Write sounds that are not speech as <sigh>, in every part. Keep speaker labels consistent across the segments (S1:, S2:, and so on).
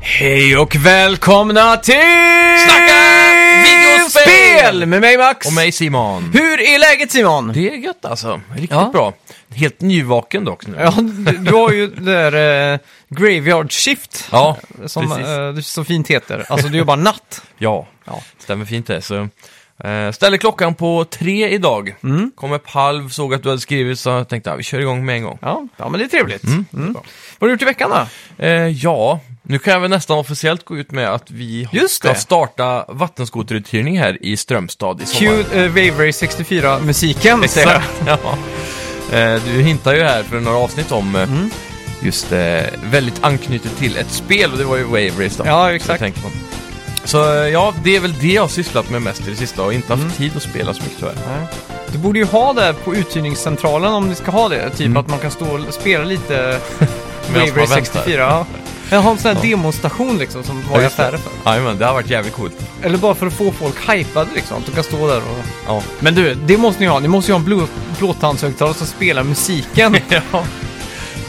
S1: Hej och välkomna till
S2: Snacka videospel!
S1: med mig Max!
S2: Och mig Simon.
S1: Hur är läget Simon?
S2: Det är gött alltså. Riktigt
S1: Ja.
S2: bra. Helt nyvaken dock nu.
S1: Ja, du, du har ju det där eh, Graveyard Shift,
S2: Ja,
S1: som
S2: precis.
S1: eh, det så fint heter. Alltså du jobbar natt.
S2: ja.
S1: Ja.
S2: stämmer fint det. Så, eh, ställer klockan på tre idag. Kom upp halv, såg att du hade skrivit så jag tänkte att vi kör igång med en gång.
S1: Ja, ja men det är trevligt. Mm. Vad har du gjort i veckan då?
S2: Eh, ja, nu kan jag väl nästan officiellt gå ut med att vi har-
S1: Just
S2: ska
S1: det.
S2: starta vattenskoteruthyrning här i Strömstad i sommar.
S1: Cue eh, Wavery 64-musiken.
S2: Exakt. <laughs> Ja. Eh, Du hintar ju här för några avsnitt om eh,
S1: Mm.
S2: just eh, väldigt anknutet till ett spel och det var ju Wave Race då.
S1: Ja,
S2: Så
S1: exakt.
S2: jag tänker på. Så eh, ja, det är väl det jag har sysslat med mest i det sista och inte
S1: Mm.
S2: haft tid att spela så mycket tyvärr.
S1: Nej. Du borde ju ha det på uthyrningscentralen om ni ska ha det. Typ
S2: Mm.
S1: att man kan stå och spela <laughs> lite
S2: Medan
S1: Wavery
S2: man väntar.
S1: 64. Ja. Jag har en sån här
S2: Ja.
S1: demostation liksom som var i
S2: just det.
S1: affärer för.
S2: Jajamän, det har varit jävligt coolt.
S1: Eller bara för att få folk hypade liksom. Att du kan stå där och...
S2: Ja.
S1: Men du, det måste ni ha. Ni måste ju ha en blå, blåtandshögtalare som spelar musiken.
S2: ja. <laughs>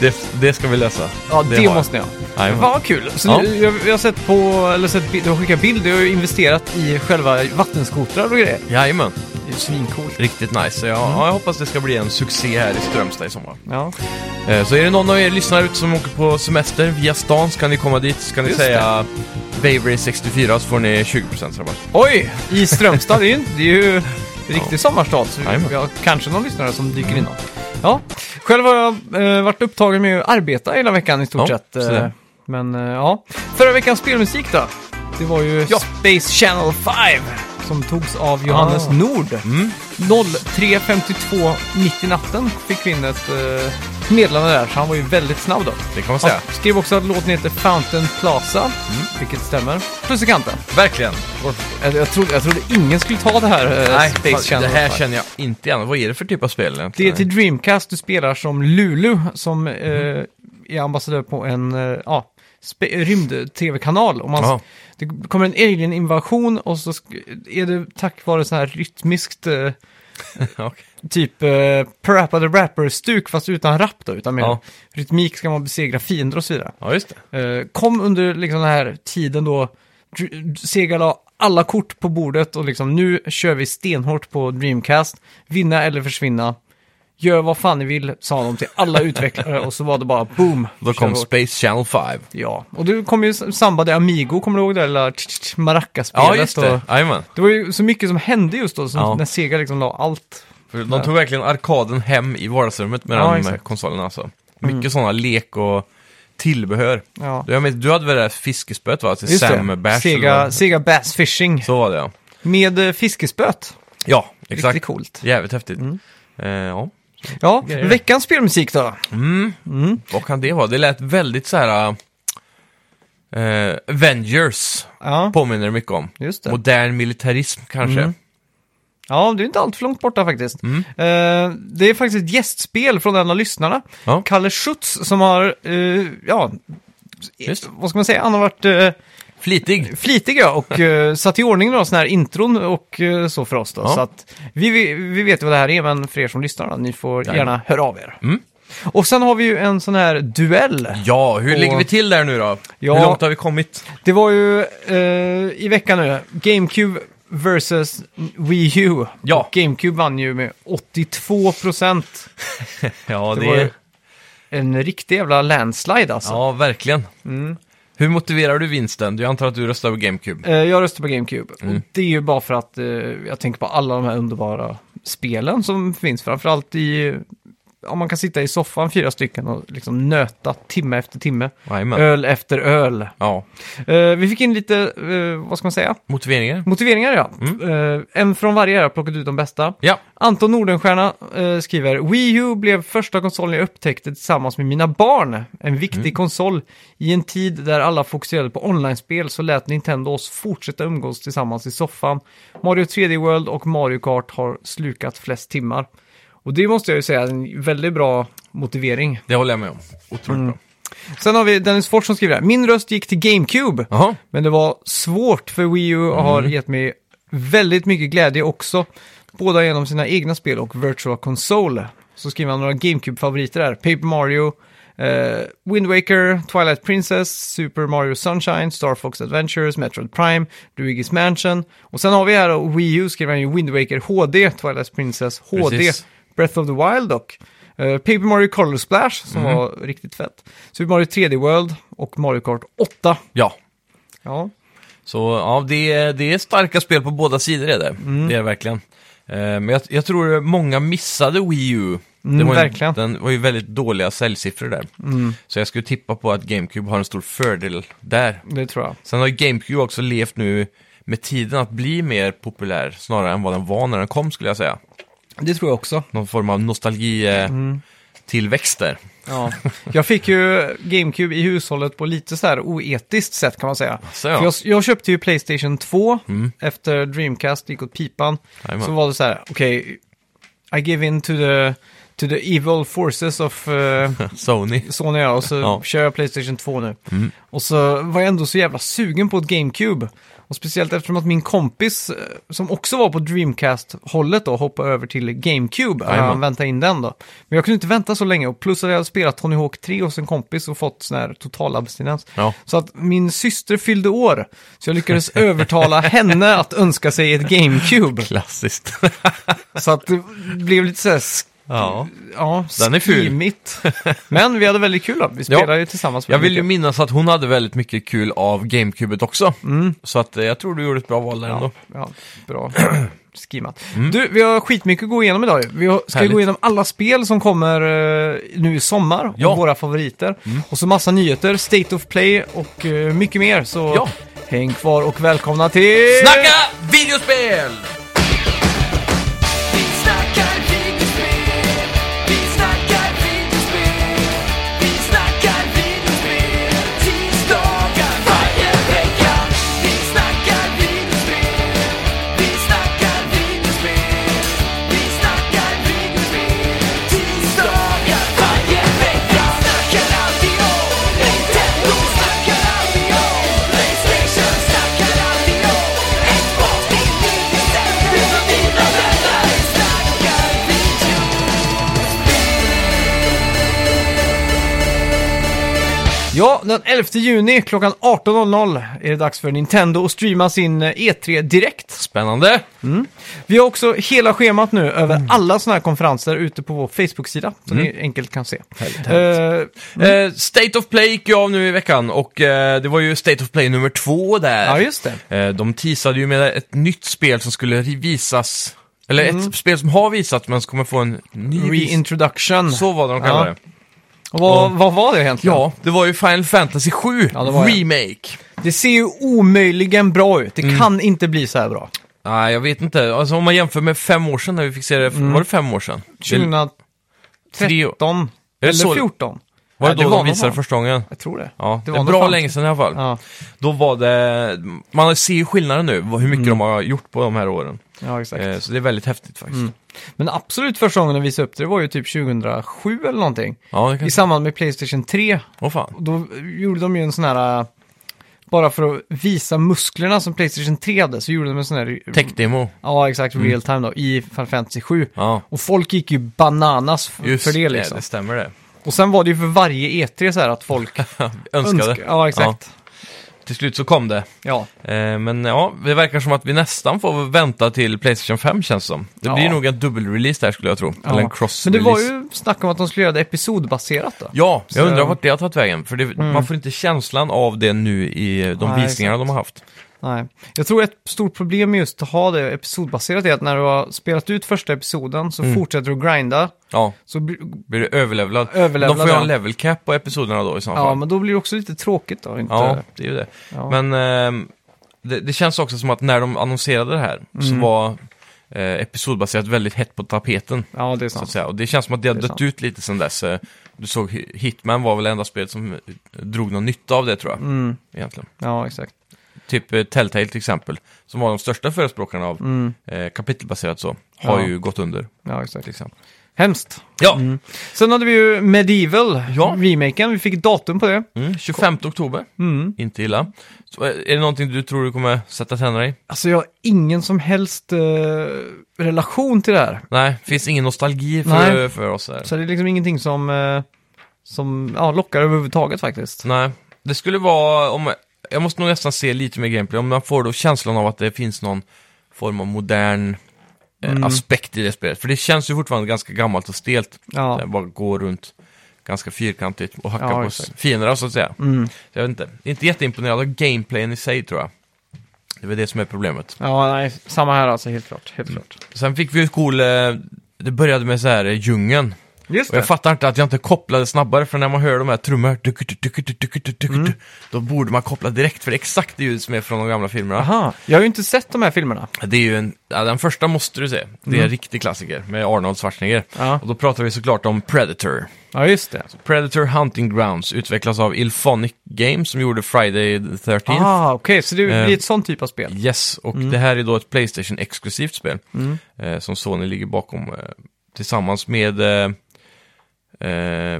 S2: Det, det ska vi lösa.
S1: <laughs> Ja, det,
S2: har jag.
S1: måste ni ha.
S2: Jajamän.
S1: Vad kul! Så
S2: Ja.
S1: nu, jag, jag har sett på, eller sett, bi- du har skickat bild, du har ju investerat i själva vattenskotrar och grejer.
S2: Jajamän,
S1: Det är ju svincoolt.
S2: riktigt nice. Så jag,
S1: Mm.
S2: ja, jag hoppas det ska bli en succé här i Strömstad i sommar.
S1: Ja.
S2: Eh, Så är det någon av er lyssnare ute som åker på semester via stan så kan ni komma dit så kan ni
S1: Just
S2: säga Wavery64 så får ni 20% rabatt.
S1: Oj! I Strömstad, det är ju, det är ju en riktig sommarstad. Så
S2: Jajamän. Mm.
S1: vi har kanske någon lyssnare som dyker in. Ja. Själv har jag eh, varit upptagen med att arbeta hela veckan i stort
S2: Ja,
S1: sett.
S2: så
S1: Eh,
S2: det.
S1: men eh, ja, förra veckans spelmusik då? Det var ju
S2: Ja.
S1: Space Channel 5 som togs av Johannes
S2: Ah.
S1: Nord.
S2: Mm.
S1: 03.52 mitt i natten fick vi in ett eh, meddelande där, så han var ju väldigt snabb då.
S2: Det kan man
S1: Han
S2: säga.
S1: skrev också att låten heter Fountain Plaza,
S2: Mm.
S1: vilket stämmer. Plus i kanten.
S2: Verkligen.
S1: Jag, jag, trodde, jag trodde ingen skulle ta det här eh, Space
S2: fan, det
S1: Channel.
S2: här känner jag inte igen. Vad är det för typ av spel
S1: det är
S2: egentligen?
S1: till Dreamcast du spelar som Lulu som eh,
S2: Mhm.
S1: är ambassadör på en eh, ja, spe- rymd-tv-kanal. Och man,
S2: Ja.
S1: Det kommer en alien-invasion och så sk- är det tack vare sån här rytmiskt eh,
S2: <laughs> Okej.
S1: typ eh, Parappa the Rapper-stuk fast utan rap då, utan mer
S2: Ja.
S1: rytmik ska man besegra fiender och så vidare.
S2: Ja, just det.
S1: Eh, kom under liksom den här tiden då Dr- Sega la alla kort på bordet och liksom nu kör vi stenhårt på Dreamcast. Vinna eller försvinna. Gör vad fan ni vill, sa de till
S2: <laughs>
S1: alla utvecklare och så var det bara boom.
S2: Då
S1: Kör
S2: kom
S1: hårt.
S2: Space Channel 5.
S1: Ja, och det kom ju s- samba det Amigo, kommer du ihåg det? Eller tch, tch, tch, Maracas-spelet.
S2: Ja, just det.
S1: Och
S2: Jajamän.
S1: det var ju så mycket som hände just då, som
S2: Ja.
S1: när Sega liksom la allt.
S2: För De tog verkligen arkaden hem i vardagsrummet med
S1: Ja,
S2: de här
S1: exakt.
S2: konsolerna alltså. Mycket sådana lek och tillbehör.
S1: Ja.
S2: Du, jag vet, du hade väl det där fiskespöet va? Till Sam Bash? eller
S1: Sega,
S2: vad?
S1: Sega Bass Fishing
S2: Så var det ja.
S1: med eh, fiskespöt.
S2: Ja, exakt.
S1: Riktigt coolt.
S2: Jävligt häftigt.
S1: Mm.
S2: Eh, ja.
S1: Ja,
S2: Grejer.
S1: veckans spelmusik då?
S2: Vad kan det vara? Det lät väldigt så här... eh, Avengers
S1: Ja,
S2: påminner det mycket om.
S1: just det.
S2: Modern militarism kanske.
S1: Mm. Ja, det är inte allt för långt borta faktiskt.
S2: Mm.
S1: Eh, det är faktiskt ett gästspel från en av lyssnarna,
S2: Ja.
S1: Kalle Schütz, som har, eh, ja,
S2: Just.
S1: vad ska man säga, han har varit eh,
S2: Flitig.
S1: flitig ja,
S2: <laughs>
S1: och eh, satt i ordning några sådana här intron och eh, så för oss då.
S2: Ja.
S1: Så att vi, vi, vi vet ju vad det här är, men för er som lyssnar, då, ni får
S2: Ja.
S1: gärna höra av er.
S2: Mm.
S1: Och sen har vi ju en sån här duell.
S2: Ja, hur
S1: Och-
S2: ligger vi till där nu då?
S1: Ja.
S2: Hur långt har vi kommit?
S1: Det var ju eh, i veckan nu, GameCube versus Wii U.
S2: Ja.
S1: Och GameCube vann ju med 82 procent.
S2: Ja,
S1: Det var ju en riktig jävla landslide alltså.
S2: Ja, verkligen.
S1: Mm.
S2: Hur motiverar du vinsten? Jag antar att du röstar på GameCube.
S1: Eh, Jag röstar på GameCube.
S2: Mm.
S1: Och det är ju bara för att eh, jag tänker på alla de här underbara spelen som finns. Framförallt i... Om man kan sitta i soffan fyra stycken och liksom nöta timme efter timme.
S2: Jajamän.
S1: Öl efter öl.
S2: Ja,
S1: Eh, vi fick in lite, eh, vad ska man säga?
S2: motiveringar?
S1: Motiveringar ja.
S2: Mm.
S1: Eh, en från varje. Jag har plockat ut de bästa.
S2: Ja,
S1: Anton Nordenstierna eh, skriver Wii U blev första konsolen jag upptäckte tillsammans med mina barn. En viktig konsol. I en tid där alla fokuserade på online-spel så lät Nintendo oss fortsätta umgås tillsammans i soffan. Mario 3D World och Mario Kart har slukat flest timmar. Och det måste jag ju säga är en väldigt bra motivering.
S2: det håller jag med om. Otroligt
S1: Mm.
S2: bra.
S1: Sen har vi Dennis Fors som skriver här. Min röst gick till GameCube.
S2: Jaha,
S1: Men det var svårt för Wii U och har gett mig väldigt mycket glädje också. Båda genom sina egna spel och Virtual Console. Så skriver han några GameCube-favoriter där. Paper Mario, Eh, Wind Waker, Twilight Princess, Super Mario Sunshine, Star Fox Adventures, Metroid Prime, Luigi's Mansion. Och sen har vi här då, Wii U skriver han ju Wind Waker HD, Twilight Princess HD,
S2: Precis.
S1: Breath of the Wild dock. Eh, Paper Mario Color Splash, som var riktigt fett. Super Mario 3D World och Mario Kart 8.
S2: Ja,
S1: Ja,
S2: så ja, det, är- det är starka spel på båda sidor är det.
S1: Mm.
S2: Det är det verkligen. Eh, Men jag, jag tror många missade Wii U.
S1: Mm,
S2: det var
S1: verkligen. Mm.
S2: Ju, den var ju väldigt dåliga säljsiffror där. Så jag skulle tippa på att GameCube har en stor fördel där.
S1: det tror jag.
S2: Sen har ju GameCube också levt nu med tiden att bli mer populär snarare än vad den var när den kom skulle jag säga.
S1: Det tror jag också.
S2: Någon form av nostalgi-tillväxt där.
S1: Ja. <laughs> Jag fick ju GameCube i hushållet på lite så här oetiskt sätt kan man säga.
S2: Så ja.
S1: För jag, jag köpte ju Playstation 2 efter Dreamcast gick åt pipan.
S2: Jajamän.
S1: Så var det så här, okej, I give in to the, to the evil forces of eh,
S2: Sony.
S1: Sony ja, och så
S2: Ja. Mm.
S1: kör jag Playstation 2 nu. Och så var jag ändå så jävla sugen på ett GameCube. Och speciellt eftersom att min kompis, eh, som också var på Dreamcast-hållet då, hoppade över till GameCube.
S2: Jajamän.
S1: Han väntade in den då. Men jag kunde inte vänta så länge. Och plus att jag hade spelat Tony Hawk 3 hos en kompis och fått sån här total abstinens.
S2: Ja.
S1: Så att min syster fyllde år. Så jag lyckades övertala <laughs> henne att önska sig ett GameCube.
S2: Klassiskt.
S1: Så att det blev lite så här sk-
S2: <laughs> ja.
S1: ja,
S2: Den är ful.
S1: skimigt. Men vi hade väldigt kul då. Vi spelade ju tillsammans.
S2: Jag
S1: väldigt
S2: vill ju
S1: mycket.
S2: minnas att hon hade väldigt mycket kul av GameCubet också. Så att eh, jag tror du gjorde ett bra val där ändå.
S1: Mm. Ja,
S2: <clears throat>
S1: bra skimat. Du, vi har skitmycket att gå igenom idag. ju. Vi har- ska
S2: Mm. Härligt.
S1: gå igenom alla spel som kommer eh, nu i sommar
S2: Ja. Mm.
S1: och våra favoriter. Och så massa nyheter, State of Play och eh, mycket mer. Så
S2: Ja.
S1: häng kvar och välkomna till...
S2: Snacka videospel!
S3: Vi snackar videospel, vi snackar videospel, vi snackar videospel tisdagar varje vecka. Vi snackar videospel, vi snackar videospel, vi snackar videospel tisdagar varje vecka. Snackar alltid om Nintendo, snackar alltid om Playstation, snackar alltid om Xbox, din videospel, du och dina vänner. Vi snackar video.
S1: Ja, den 11 juni klockan 18.00 är det dags för Nintendo att streama sin eh, E3 direkt.
S2: Spännande!
S1: Vi har också hela schemat nu över alla sådana här konferenser ute på vår Facebook-sida. Som ni enkelt kan se. Eh,
S2: Eh, State of Play gick ju av nu i veckan och eh, det var ju State of Play nummer två där.
S1: ja, just det.
S2: Eh, de teasade ju med ett nytt spel som skulle visas, eller
S1: Mm.
S2: ett spel som har visats men som kommer få en ny vis-
S1: Reintroduction.
S2: Så var det de kallade
S1: Ja.
S2: det.
S1: Och vad, vad var det egentligen?
S2: Ja, det var ju Final Fantasy 7
S1: Ja, det var det.
S2: Remake.
S1: Det ser ju omöjligen bra ut. Det kan inte bli så här bra.
S2: Nej, jag vet inte. Alltså, om man jämför med fem år sedan när vi fick se det,
S1: Mm.
S2: var det fem år sedan? Det,
S1: 2013
S2: tre, det
S1: eller
S2: så-
S1: 14.
S2: var det
S1: Ja,
S2: då de
S1: nog
S2: visade det
S1: fan.
S2: första gången?
S1: Jag tror det.
S2: Ja, det
S1: det var
S2: var
S1: nog
S2: bra
S1: fan.
S2: länge sedan i alla fall.
S1: Ja,
S2: Då var det, man ser ju skillnaden nu, vad- hur mycket de har gjort på de här åren.
S1: ja Mm. exakt. Mm.
S2: Eh, så det är väldigt häftigt faktiskt.
S1: Men absolut första gången de visade upp det, det var ju typ 2007 eller någonting.
S2: Ja, det kan...
S1: I samband med Playstation 3.
S2: Åh fan.
S1: Och då gjorde de ju en sån här... äh, Bara för att visa musklerna som Playstation 3 hade så gjorde de en sån här...
S2: Tech-demo.
S1: Ja, exakt.
S2: Mm.
S1: Real time då. I Final Fantasy 7.
S2: Ja,
S1: Och folk gick ju bananas f-
S2: just
S1: för det liksom.
S2: det stämmer det.
S1: Och sen var det ju för varje E3 så här att
S2: <laughs>
S1: folk
S2: Önskade.
S1: önskade. Ja, exakt.
S2: Till slut så kom det.
S1: Ja.
S2: Eh, men ja, det verkar som att vi nästan får vänta till Playstation 5 känns det som. Det
S1: Ja.
S2: blir nog en dubbelrelease där skulle jag tro.
S1: ja.
S2: Eller en cross
S1: Men det var ju snack om att de skulle göra det episodbaserat då.
S2: Ja, jag
S1: Så- Mm.
S2: undrar vart det har tagit vägen. För det, man får inte känslan av det nu i eh, de
S1: Nej,
S2: visningarna de har haft.
S1: Nej. Jag tror ett stort problem med just att ha det episodbaserat är att när du har spelat ut första episoden
S2: Mm.
S1: så fortsätter du att grinda.
S2: Ja,
S1: Så blir-
S2: blir det överlevlad.
S1: Överlevlad,
S2: de får ju ha
S1: ja.
S2: en level cap på episoderna då i så
S1: ja,
S2: fall.
S1: men då blir det också lite tråkigt då. Inte...
S2: Ja, det är ju det.
S1: Ja.
S2: Men ehm, det, det känns också som att när de annonserade det här så
S1: Mm.
S2: var eh, episodbaserat väldigt hett på tapeten.
S1: ja, det är
S2: Så att
S1: sant.
S2: säga. Och det känns som att det har
S1: Det är sant.
S2: dött ut lite sedan dess. Eh, Du såg Hi- Hitman var väl det enda spelet som eh, drog någon nytta av det tror jag.
S1: Mm.
S2: Egentligen.
S1: Ja, exakt.
S2: Typ eh, Telltale till exempel, som var de största förespråkarna av
S1: Mm.
S2: eh, kapitelbaserat så, har
S1: Ja.
S2: ju gått under.
S1: Ja, exakt. Liksom.
S2: Till exempel.
S1: Hemskt.
S2: Ja,
S1: Sen hade vi ju Medieval,
S2: Ja.
S1: remaken. Vi fick datum på det.
S2: mm. 25 oktober,
S1: Mm.
S2: inte illa. Så, eh, är det någonting du tror du kommer sätta tänderna i?
S1: Alltså jag har ingen som helst eh, relation till det här.
S2: Nej, finns ingen nostalgi för,
S1: Nej.
S2: för oss här.
S1: Så det är liksom ingenting som, eh, som ja, lockar överhuvudtaget faktiskt.
S2: Nej, det skulle vara om... Jag måste nog nästan se lite mer gameplay, om man får då känslan av att det finns någon form av modern eh,
S1: Mm.
S2: aspekt i det spelet. För det känns ju fortfarande ganska gammalt och stelt.
S1: Ja.
S2: Där bara går runt ganska fyrkantigt och hackar
S1: Ja,
S2: på
S1: exakt. Mm.
S2: s- fienderna så att säga. Så jag vet inte, inte jätteimponerad av gameplayen i sig tror jag. Det är väl det som är problemet.
S1: Ja, nej, samma här alltså, helt klart. Helt klart.
S2: Sen fick vi ju cool, eh, det började med så här eh, djungeln.
S1: Just
S2: Och jag
S1: det.
S2: fattar inte att jag inte kopplade snabbare, för när man hör de här trummorna, tuk, tuk, tuk, tuk, tuk, tuk,
S1: Mm.
S2: tuk, då borde man koppla direkt, för det är exakt det ljud som är från de gamla filmerna.
S1: Aha, jag har ju inte sett de här filmerna.
S2: Det är ju en, ja, den första måste du se, det är
S1: Mm.
S2: en riktig klassiker med Arnold Schwarzenegger.
S1: Ja.
S2: Och då pratar vi såklart om Predator.
S1: Ja, just det.
S2: Predator Hunting Grounds utvecklas av Ilphonic Games som gjorde Friday the 13th.
S1: Ah, okej, så det
S2: Eh,
S1: blir ett sånt typ av spel.
S2: Yes, och det här är då ett Playstation-exklusivt spel
S1: Mm.
S2: eh, som Sony ligger bakom eh, tillsammans med, eh, eh,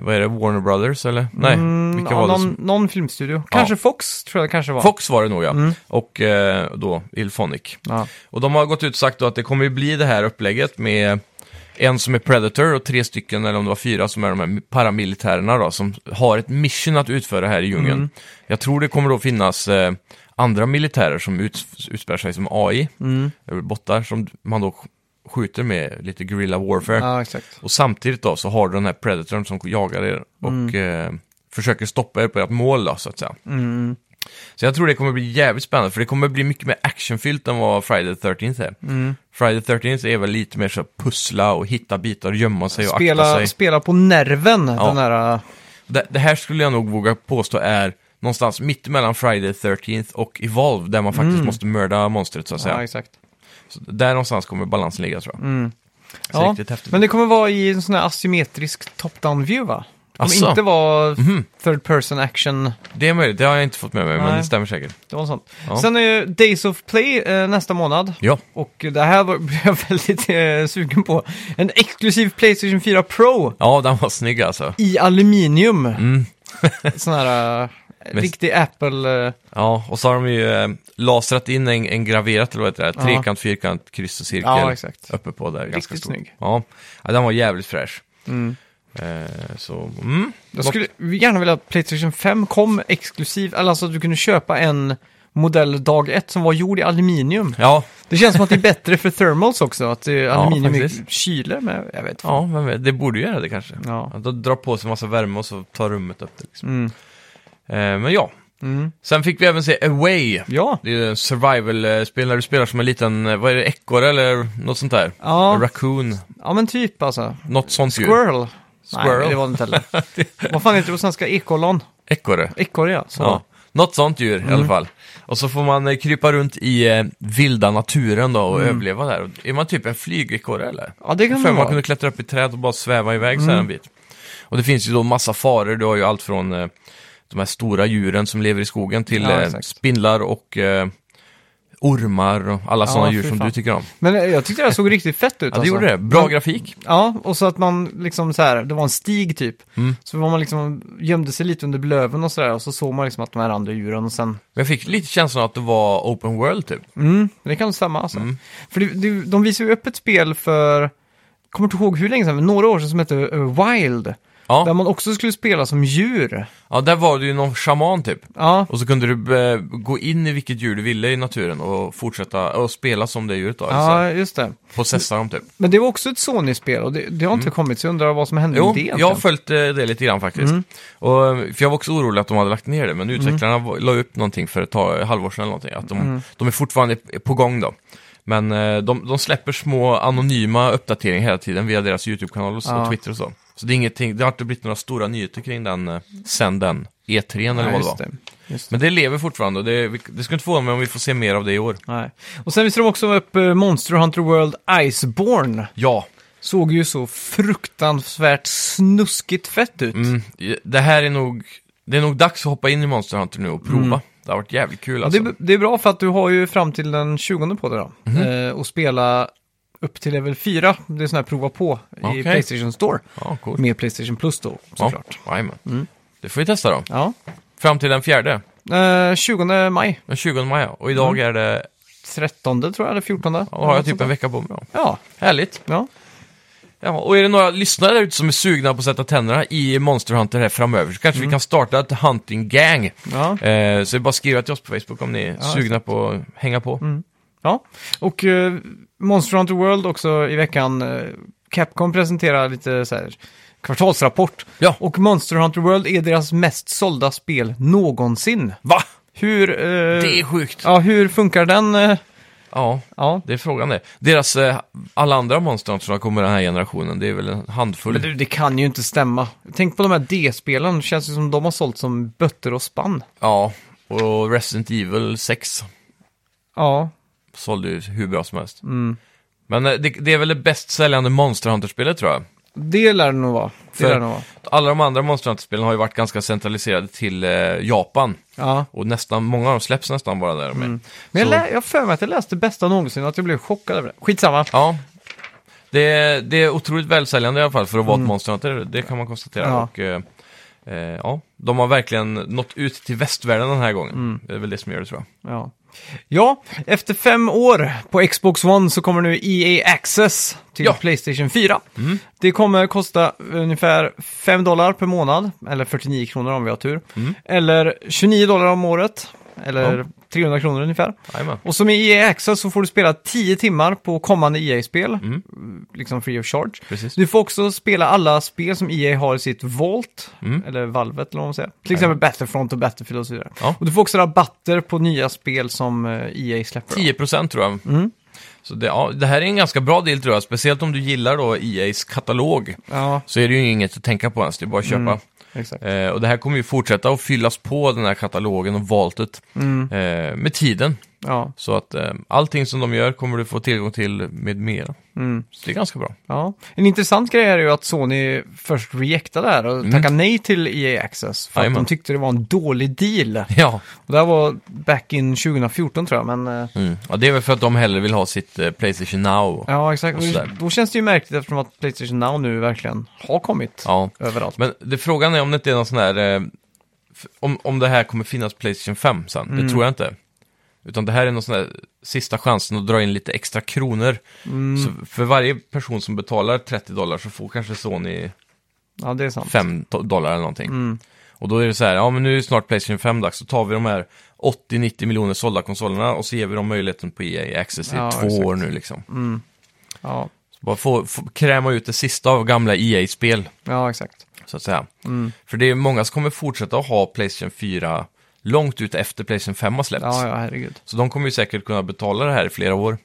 S2: vad är det, Warner Brothers eller? Nej, vilka
S1: Mm, ja,
S2: var det?
S1: någon,
S2: Som...
S1: någon filmstudio. Kanske Fox, tror jag det kanske var.
S2: Fox var det nog ja, och eh, då Ilphonic.
S1: Ja.
S2: Och de har gått ut och sagt då att det kommer ju bli det här upplägget med en som är Predator och tre stycken, eller om det var fyra, som är de här paramilitärerna då, som har ett mission att utföra här i djungeln. Jag tror det kommer då finnas eh, andra militärer som ut, utspär sig som AI, eller bottar, som man då sk- skjuter med lite guerrilla warfare.
S1: ja, exakt.
S2: Och samtidigt då så har du den här Predatorn som jagar er och eh, försöker stoppa er på ert mål då, så att säga.
S1: Mm,
S2: Så jag tror det kommer bli jävligt spännande, för det kommer bli mycket mer actionfyllt än vad Friday the 13th är.
S1: Mm.
S2: Friday the 13th är väl lite mer så att pussla och hitta bitar och gömma sig och akta
S1: Spela,
S2: sig.
S1: spela på nerven, den där...
S2: Det, det här skulle jag nog våga påstå är någonstans mitt mellan Friday the 13th och Evolve, där man faktiskt
S1: Mm.
S2: måste mörda monstret så att säga.
S1: Ja, exakt.
S2: så där någonstans kommer balansen ligga tror jag. Så
S1: Mm. Ja,
S2: Alltså, riktigt häftigt.
S1: men det kommer vara i en sån här asymmetrisk top-down view, va? Det kommer
S2: Asså?
S1: inte vara
S2: Mhm.
S1: third person action.
S2: Det är möjligt, det har jag inte fått med mig, men
S1: Nej.
S2: det stämmer säkert.
S1: Det var sånt.
S2: Ja.
S1: Sen är ju Days of Play eh, nästa månad.
S2: Ja.
S1: Och det här var- <laughs> blev jag väldigt eh, sugen på. En exklusiv Playstation 4 Pro
S2: Ja, den var snygg alltså.
S1: i aluminium.
S2: Mm. <laughs>
S1: Sån här eh,
S2: Men-
S1: riktig Apple... Eh,
S2: Ja, och så har de ju eh, lasrat in en, en graverat, eller vad heter det?
S1: Ja.
S2: Trekant, fyrkant, kryss och cirkel.
S1: Ja, exakt.
S2: Uppe på där, ganska
S1: Riktigt
S2: stort.
S1: snygg.
S2: Ja. ja, den var jävligt fräsch.
S1: Mm.
S2: Eh, så, mm.
S1: jag skulle gärna vilja att Playstation 5 kom exklusiv, eller alltså att du kunde köpa en modell dag ett som var gjord i aluminium.
S2: Ja,
S1: Det känns som att det är bättre för thermals också, att det är aluminium i
S2: faktiskt.
S1: kyler med, jag vet.
S2: ja vem vet, det borde ju göra det kanske.
S1: Ja.
S2: Att de drar på sig en massa värme och så tar rummet upp det. Liksom.
S1: Mm.
S2: Eh, men ja,
S1: Mm.
S2: sen fick vi även se Away.
S1: Ja.
S2: Det är ju en survival-spel när du spelar som en liten, eh, vad är det, ekorre eller något sånt där?
S1: Ja.
S2: Raccoon,
S1: ja, men typ alltså.
S2: något sånt djur.
S1: Squirrel.
S2: Squirrel.
S1: Nej, det var det inte
S2: <laughs>
S1: heller. Vad fan heter det på svenska? Ekollon?
S2: Ekorre.
S1: Ekorre, ja. Mm. Så.
S2: Ja, något sånt djur i alla fall. Och så får man eh, krypa runt i eh, vilda naturen då
S1: Mm.
S2: och överleva där. Och Är man typ en flygekorre eller?
S1: Ja, det kan
S2: För
S1: man
S2: man
S1: vara. Mm.
S2: kunde klättra upp i träd och bara sväva iväg så här en bit. Och det finns ju då massa faror. Du har ju allt från eh, de här stora djuren som lever i skogen till
S1: Ja,
S2: eh,
S1: exakt.
S2: spindlar och eh, ormar och alla
S1: Ja,
S2: sådana djur
S1: fy
S2: som
S1: fan.
S2: du tycker om.
S1: Men eh, jag tyckte det här såg riktigt fett ut.
S2: Ja, det
S1: alltså.
S2: gjorde det. Bra
S1: Men-
S2: grafik.
S1: Ja, och så att man liksom så här, det var en stig typ.
S2: Mm.
S1: Så var man liksom, gömde sig lite under löven och sådär och så såg man liksom att de här andra djuren och sen,
S2: Men jag fick lite känslan att det var open world typ.
S1: mm, det kan stämma alltså. För det, det, de visar ju upp ett spel för, kommer inte ihåg hur länge sedan, men några år sedan som hette eh, Wild.
S2: Ja,
S1: Där man också skulle spela som djur.
S2: ja där var du ju någon shaman typ.
S1: Ja,
S2: Och så kunde du eh, gå in i vilket djur du ville i naturen och fortsätta och spela som det djuret då. Ja.
S1: ja just det.
S2: Possessa dem typ.
S1: Men det var också ett Sony-spel och det, det har inte kommit så jag undrar vad som hände
S2: Mm. Jo,
S1: med det
S2: jag har följt eh, det lite grann faktiskt.
S1: Mm.
S2: Och, eh, för jag var också orolig att de hade lagt ner det, men utvecklarna var- la upp någonting för ett tag, halvår sedan eller någonting. Att de,
S1: Mm.
S2: de är fortfarande på gång då. Men eh, de, de släpper små anonyma uppdateringar hela tiden via deras YouTube-kanal och, så-
S1: Ja.
S2: och Twitter och så. Så det, är ingenting, det har inte blivit några stora nyheter kring den eh, sen den E3 eller
S1: Nej,
S2: vad det
S1: just
S2: var.
S1: det. Just det.
S2: Men det lever fortfarande och det, vi- det skulle inte få mig om vi får se mer av det i år.
S1: Nej. Och sen visade de också upp eh, Monster Hunter World Iceborne.
S2: Ja,
S1: Såg ju så fruktansvärt snuskigt fett ut.
S2: Mm, det här är nog, det är nog dags att hoppa in i Monster Hunter nu och prova. Det har varit jävligt kul
S1: Mm. Ja, det,
S2: alltså. Mhm.
S1: är- det är bra för att du har ju fram till den 20 på dig då. Eh, och spela upp till level 4. Det är sån här prova på i
S2: Okej.
S1: Playstation Store.
S2: Ja, coolt.
S1: Med Playstation Plus då,
S2: Ja,
S1: såklart. Mm.
S2: jajamän. Det får vi testa då.
S1: Ja.
S2: Fram till den fjärde,
S1: Eh, 20 maj.
S2: den 20 maj. ja. Och idag
S1: Mm.
S2: är det,
S1: 13 tror jag, eller 14.
S2: typ ja, har jag typ en vecka på mig. då.
S1: Ja,
S2: Härligt.
S1: ja.
S2: Ja, och är det några lyssnare där ute som är sugna på att sätta tänderna i Monster Hunter här framöver så
S1: Mm.
S2: kanske vi kan starta ett hunting gang.
S1: Ja.
S2: Eh, så det är bara att skriva till oss på Facebook om ni är sugna på att hänga på.
S1: Mm. ja. Och eh, Monster Hunter World också i veckan. eh, Capcom presenterar lite så här kvartalsrapport.
S2: Ja.
S1: Och Monster Hunter World är deras mest sålda spel någonsin.
S2: Va?
S1: Hur... eh,
S2: Det är sjukt.
S1: Ja, hur funkar den? eh,
S2: Ja,
S1: Ja.
S2: det är frågan det. Deras, eh, alla andra Monster Hunter som kommer den här generationen, det är väl en handfull.
S1: Men du, det kan ju inte stämma. Tänk på de här D-spelen, det känns ju som de har sålt som bötter och spann.
S2: Ja, och Resident Evil 6
S1: Ja,
S2: sålde ju hur bra som helst.
S1: Mm.
S2: Men eh, det, det är väl det bäst säljande Monster Hunter-spelet tror jag.
S1: det lär det nog vara. Det
S2: För-
S1: lär det nog vara.
S2: Alla de andra Monster Hunter-spelen har ju varit ganska centraliserade till eh, Japan.
S1: Ja.
S2: Och nästan, många av dem släpps nästan bara där med.
S1: Mm. Men jag
S2: Så-
S1: lä- jag har för mig att jag läste bästa någonsin och att jag blev chockad över det. Skitsamma.
S2: Ja. Det, det är otroligt välsäljande i alla fall för att vara ett Monster Hunter, det kan man konstatera.
S1: Mm. Ja.
S2: Och, eh, eh, ja, de har verkligen nått ut till västvärlden den här gången.
S1: Mm.
S2: Det är väl det som gör det tror jag.
S1: Ja. ja, efter fem år på Xbox One så kommer nu EA Access till
S2: Ja.
S1: Playstation 4. Det kommer kosta ungefär 5 dollar per månad, eller 49 kronor om vi har tur. Eller 29 dollar om året, eller 300 kronor ungefär.
S2: Jajamän.
S1: Och som i EA Access så får du spela 10 timmar på kommande EA-spel, liksom free of charge.
S2: Precis.
S1: Du får också spela alla spel som EA har i sitt Vault,
S2: Mm.
S1: eller valvet eller vad man säger. Till exempel Battlefront och Battlefield och så vidare.
S2: Ja.
S1: Och du får också rabatter på nya spel som eh, EA släpper. då.
S2: 10% tror jag.
S1: Mm.
S2: Så det, ja, det här är en ganska bra deal tror jag, speciellt om du gillar då EA's katalog.
S1: Ja,
S2: Så är det ju inget att tänka på ens, det är bara att köpa.
S1: exakt.
S2: Eh, och det här kommer ju fortsätta att fyllas på den här katalogen och valtet eh, med tiden.
S1: Mm, Ja,
S2: Så att eh, allting som de gör kommer du få tillgång till med mera. Så det är ganska bra.
S1: ja. En intressant grej är ju att Sony först rejectade det här och tackade nej till EA Access. För att
S2: Mm. Jajamän.
S1: de tyckte det var en dålig deal.
S2: Ja.
S1: Och det här var back in 2014 tror jag, men... eh,
S2: Mm. ja, det är väl för att de hellre vill ha sitt eh, Playstation Now. Ja.
S1: Ja, exakt.
S2: Och sådär.
S1: Då känns det ju märkligt eftersom att Playstation Now nu verkligen har kommit överallt.
S2: Men det, frågan är om det inte är någon sån här... Eh, f- om, om det här kommer finnas Playstation 5 sen.
S1: Mm.
S2: Det tror jag inte. Utan det här är någon sån här sista chansen att dra in lite extra kronor.
S1: Mm.
S2: Så för varje person som betalar 30 dollar så får kanske Sony
S1: Ja, det är sant.
S2: 5 do- dollar eller någonting.
S1: Mm.
S2: Och då är det så här, ja men nu är det snart Playstation 5 dags, så tar vi de här 80-90 miljoner sålda konsolerna och så ger vi dem möjligheten på EA Access i
S1: Ja,
S2: två
S1: exakt.
S2: år nu liksom.
S1: Ja,
S2: Så bara få, få kräma ut det sista av gamla E EA-spel,
S1: ja exakt.
S2: så att säga.
S1: Mm.
S2: För det är många som kommer fortsätta att ha Playstation 4 långt ut efter Playstation 5 har släppts.
S1: Ja, ja, herregud.
S2: Så de kommer ju säkert kunna betala det här i flera år.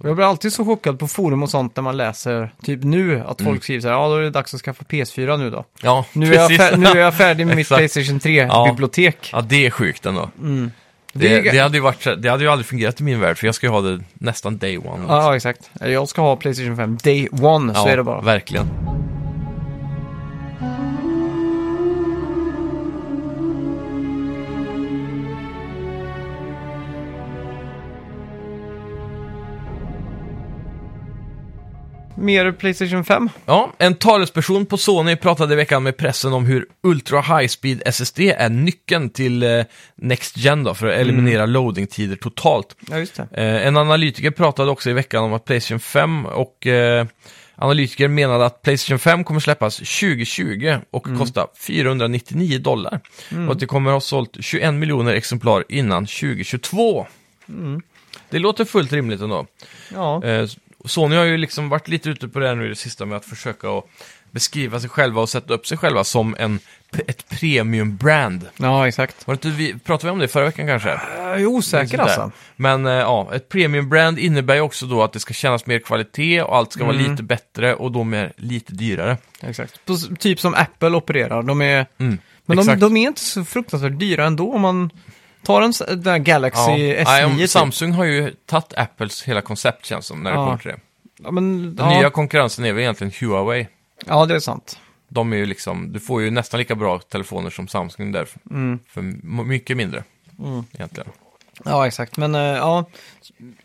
S1: Och jag blir alltid så chockad på forum och sånt när man läser, typ nu, att
S2: Mm.
S1: folk skriver så här, ja då är det dags att skaffa PS4 nu då.
S2: Ja,
S1: Nu är, jag,
S2: precis.
S1: fär- nu är jag färdig med mitt
S2: Exakt.
S1: Playstation 3-bibliotek.
S2: <laughs> Ja, det är sjukt ändå.
S1: Mm. Det
S2: Det,
S1: är-
S2: det, hade ju varit, så- det hade ju aldrig fungerat i min värld, för jag ska ju ha det nästan day one.
S1: Ja. exakt. Jag ska ha Playstation 5 day one, så
S2: Ja,
S1: är det bara.
S2: Verkligen.
S1: Mer Playstation 5?
S2: Ja, en talesperson på Sony pratade i veckan med pressen om hur Ultra High Speed SSD är nyckeln till eh, Next Gen då, för att eliminera
S1: Mm.
S2: loadingtider totalt.
S1: Ja, just det.
S2: Eh, en analytiker pratade också i veckan om att Playstation 5 och eh, analytiker menade att Playstation 5 kommer släppas 2020 och kosta 499 dollar. Och att det kommer ha sålt 21 miljoner exemplar innan 2022. Det låter fullt rimligt ändå.
S1: Ja,
S2: Eh, Sony har ju liksom varit lite ute på det här nu i det sista med att försöka att beskriva sig själva och sätta upp sig själva som en, ett premium-brand.
S1: ja exakt.
S2: Var det inte vi, pratade vi om det förra veckan kanske?
S1: Jag är osäker
S2: Sånt där.
S1: alltså.
S2: Men eh, ja, ett premium-brand innebär ju också då att det ska kännas mer kvalitet och allt ska
S1: Mm.
S2: vara lite bättre och då mer, lite dyrare.
S1: Exakt. På, s- typ som Apple opererar. De är,
S2: Mm.
S1: men de,
S2: exakt.
S1: de är inte så fruktansvärt dyra ändå om man tar en s- den där Galaxy
S2: Nej, om-
S1: S9. typ.
S2: Samsung har ju tagit Apples hela koncept känns som när det
S1: Ja.
S2: kommer till det.
S1: ja, men,
S2: Den
S1: ja,
S2: nya konkurrensen är väl egentligen Huawei.
S1: ja, det är sant.
S2: De är ju liksom, du får ju nästan lika bra telefoner som Samsung där.
S1: Mm.
S2: För m- mycket mindre. Egentligen.
S1: Ja, exakt. Men eh, ja,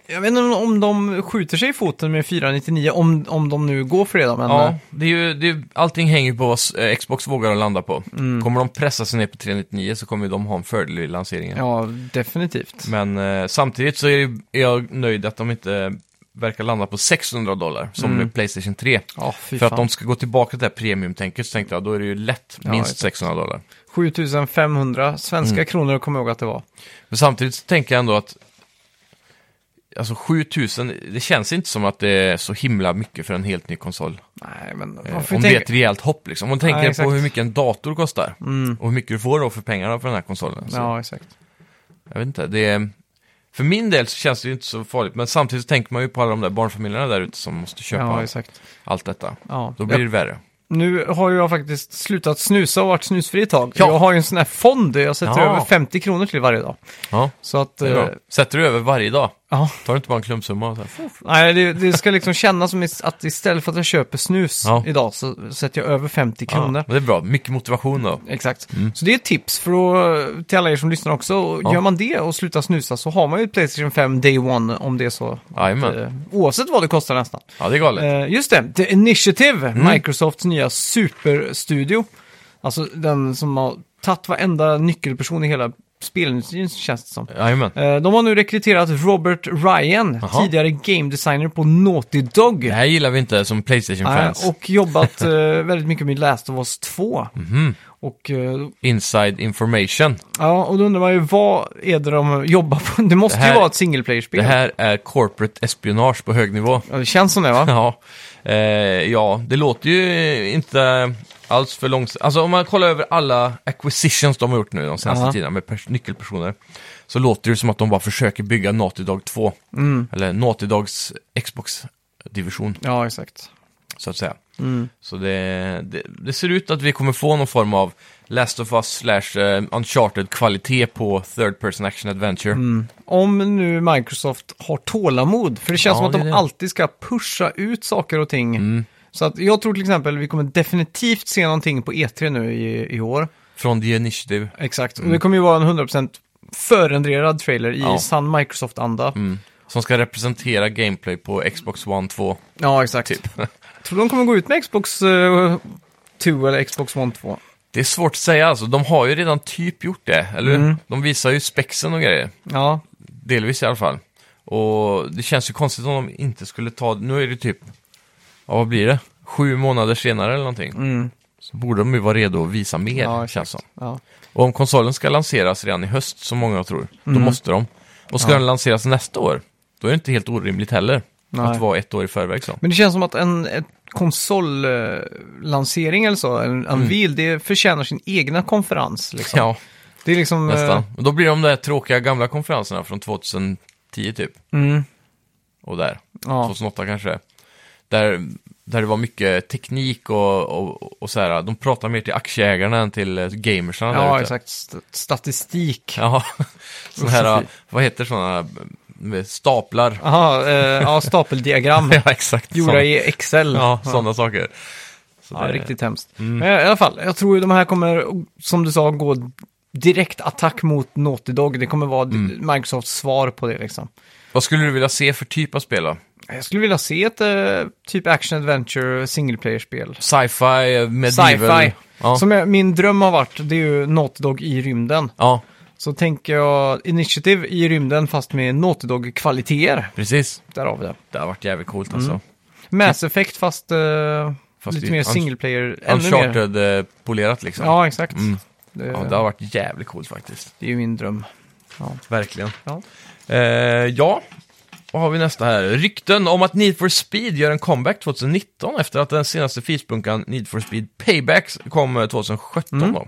S1: jag vet inte om- om de skjuter sig i foten med 499, om, om de nu går för det då. Men,
S2: Ja,
S1: eh,
S2: det är ju, det är, allting hänger ju på vad s- eh, Xbox vågar att landa på.
S1: Mm.
S2: Kommer de pressa sig ner på 399 så kommer ju de ha en fördel i lanseringen.
S1: ja, definitivt.
S2: Men eh, samtidigt så är, det, är jag nöjd att de inte verkar landa på 600 dollar, som med Playstation 3.
S1: Ja, Mm. fy
S2: För att
S1: fan.
S2: de ska gå tillbaka till det här premiumtänket så tänkte jag, då är det ju lätt
S1: Ja,
S2: minst
S1: exakt.
S2: 600 dollar.
S1: 7500 svenska
S2: Mm.
S1: kronor kommer jag ihåg att det var.
S2: Men samtidigt så tänker jag ändå att Alltså 7000, det känns inte som att det är så himla mycket för en helt ny konsol.
S1: Nej, men
S2: Eh,
S1: man får
S2: om
S1: ju
S2: det är ett
S1: tänka...
S2: rejält hopp liksom. Om man tänker
S1: exakt. Mm.
S2: på hur mycket en dator kostar och hur mycket du får då för pengarna för den här konsolen. Så,
S1: Ja, exakt.
S2: Jag vet inte, det är... För min del så känns det ju inte så farligt, men samtidigt så tänker man ju på alla de där barnfamiljerna där ute som måste köpa
S1: Ja, exakt.
S2: allt detta.
S1: Ja.
S2: Då blir det värre.
S1: Nu har ju jag faktiskt slutat snusa och varit snusfri ett tag.
S2: Ja.
S1: Jag har ju en sån här fond, jag sätter
S2: Ja.
S1: över 50 kronor till varje dag.
S2: Ja,
S1: Så att...
S2: det är
S1: eh,
S2: bra. Sätter du över varje dag?
S1: Ja.
S2: Tar du inte bara en klumpsumma? och Så här?
S1: Nej, det, det ska liksom kännas som att istället för att jag köper snus
S2: Ja.
S1: idag så sätter jag över 50 kronor.
S2: Ja, men det är bra, mycket motivation då.
S1: Exakt. Så det är ett tips för att, till alla er som lyssnar också. Och
S2: Mm. Ja.
S1: Gör man det och slutar snusa så har man ju ett Playstation 5 Day One om det är så.
S2: Jajamän.
S1: Eh, oavsett vad det kostar nästan.
S2: Ja, det är galet.
S1: Eh, just det, The Initiative,
S2: Mm.
S1: Microsofts nya superstudio. Alltså den som har tagit varenda nyckelperson i hela spelindustrin känns det som.
S2: Jajamän.
S1: Eh, De har nu rekryterat Robert Ryan,
S2: Jaha.
S1: tidigare game designer på Naughty Dog.
S2: Det här gillar vi inte som Playstation-fans.
S1: Eh, och jobbat eh, väldigt mycket med Last of Us 2.
S2: Mhm.
S1: Och, eh,
S2: Inside information.
S1: ja, och då undrar man ju, vad är det de jobbar på? Det måste
S2: Det här-
S1: ju vara ett single
S2: Det
S1: player-spel.
S2: här är corporate espionage på hög nivå.
S1: Ja, det känns som det va?
S2: Ja, eh, ja det låter ju inte alls för långsamt. Alltså om man kollar över alla acquisitions de har gjort nu de senaste
S1: Ja.
S2: tiderna med pers- nyckelpersoner. Så låter det som att de bara försöker bygga Naughty Dog 2. Eller Naughty Dogs Xbox-division,
S1: Ja, exakt.
S2: så att säga. Så det, det, det ser ut att vi kommer få någon form av Last of Us slash eh, Uncharted-kvalitet på Third Person Action Adventure.
S1: Om nu Microsoft har tålamod, för det känns
S2: Ja,
S1: som att
S2: det
S1: de
S2: är det. Mm.
S1: alltid ska pusha ut saker och ting. Så att jag tror till exempel vi kommer definitivt se någonting på E3 nu i, i år.
S2: Från The Initiative.
S1: Exakt, och det kommer ju vara en 100% förändrad trailer i
S2: Ja. Mm.
S1: sann Microsoft-anda.
S2: Som ska representera gameplay på Xbox One 2.
S1: Ja, exakt.
S2: Typ.
S1: <laughs> Tror du de kommer gå ut med Xbox eh, 2 eller Xbox One 2?
S2: Det är svårt att säga alltså. De har ju redan typ gjort det, eller
S1: Mm.
S2: hur? De visar ju spexen och grejer.
S1: Ja,
S2: Delvis i alla fall. Och det känns ju konstigt om de inte skulle ta... Nu är det typ... Ja, vad blir det? Sju månader senare eller någonting. Så borde de ju vara redo att visa mer,
S1: Mm. Ja, exakt.
S2: känns som.
S1: ja.
S2: Och om konsolen ska lanseras redan i höst, som många tror,
S1: Mm.
S2: då måste de. Och ska den lanseras nästa år, då är det inte helt orimligt heller.
S1: Nej.
S2: Att vara ett år i förväg så.
S1: Men det känns som att en ett konsollansering eller så, en
S2: Mm.
S1: unveil, det förtjänar sin egna konferens. Liksom.
S2: <laughs> Ja.
S1: Det är liksom... eh,
S2: Nästan. Och då blir de där tråkiga gamla konferenserna från 2010 typ.
S1: Mm,
S2: Och där.
S1: ja.
S2: 2008 kanske. Där, där det var mycket teknik och, och, och så här. De pratar mer till aktieägarna än till eh, gamersarna där
S1: ja,
S2: ute.
S1: exakt. St- statistik.
S2: Ja, <laughs> sån
S1: Och
S2: här,
S1: så-
S2: vad heter sådana, med staplar.
S1: Aha, eh, <laughs> ja, stapeldiagram
S2: <laughs> Ja, exakt.
S1: gjorda
S2: Såna-
S1: i Excel.
S2: Ja, sådana saker. Så
S1: Ja,
S2: det- Mm.
S1: riktigt hemskt. Men i alla fall, jag tror ju de här kommer, som du sa, gå direkt attack mot Naughty Dog. Det kommer vara d-
S2: Mm.
S1: Microsofts svar på det liksom.
S2: Vad skulle du vilja se för typ av spel då?
S1: Jag skulle vilja se ett eh, typ action adventure single player-spel.
S2: Sci-fi, eh, medieval?
S1: Sci-fi.
S2: Ja.
S1: Som jag, min dröm har varit, det är ju Naughty Dog i rymden.
S2: ja,
S1: Så tänker jag Initiative i rymden fast med Naughty Dog-kvaliteter.
S2: precis.
S1: Därav det.
S2: Det har varit jävligt coolt alltså.
S1: Mm. Mass Effect fast, eh,
S2: Fast
S1: lite
S2: i-
S1: mer
S2: Unch-
S1: single player. Ännu mer.
S2: Uncharted-polerat liksom.
S1: Ja, exakt. Det,
S2: Ja, det har varit jävligt coolt faktiskt.
S1: det är ju min dröm.
S2: Verkligen.
S1: Ja.
S2: Eh, ja, vad har vi nästa här? Rykten om att Need for Speed gör en comeback 2019 efter att den senaste fispunkan Need for Speed Payback kom eh, 2017. Då.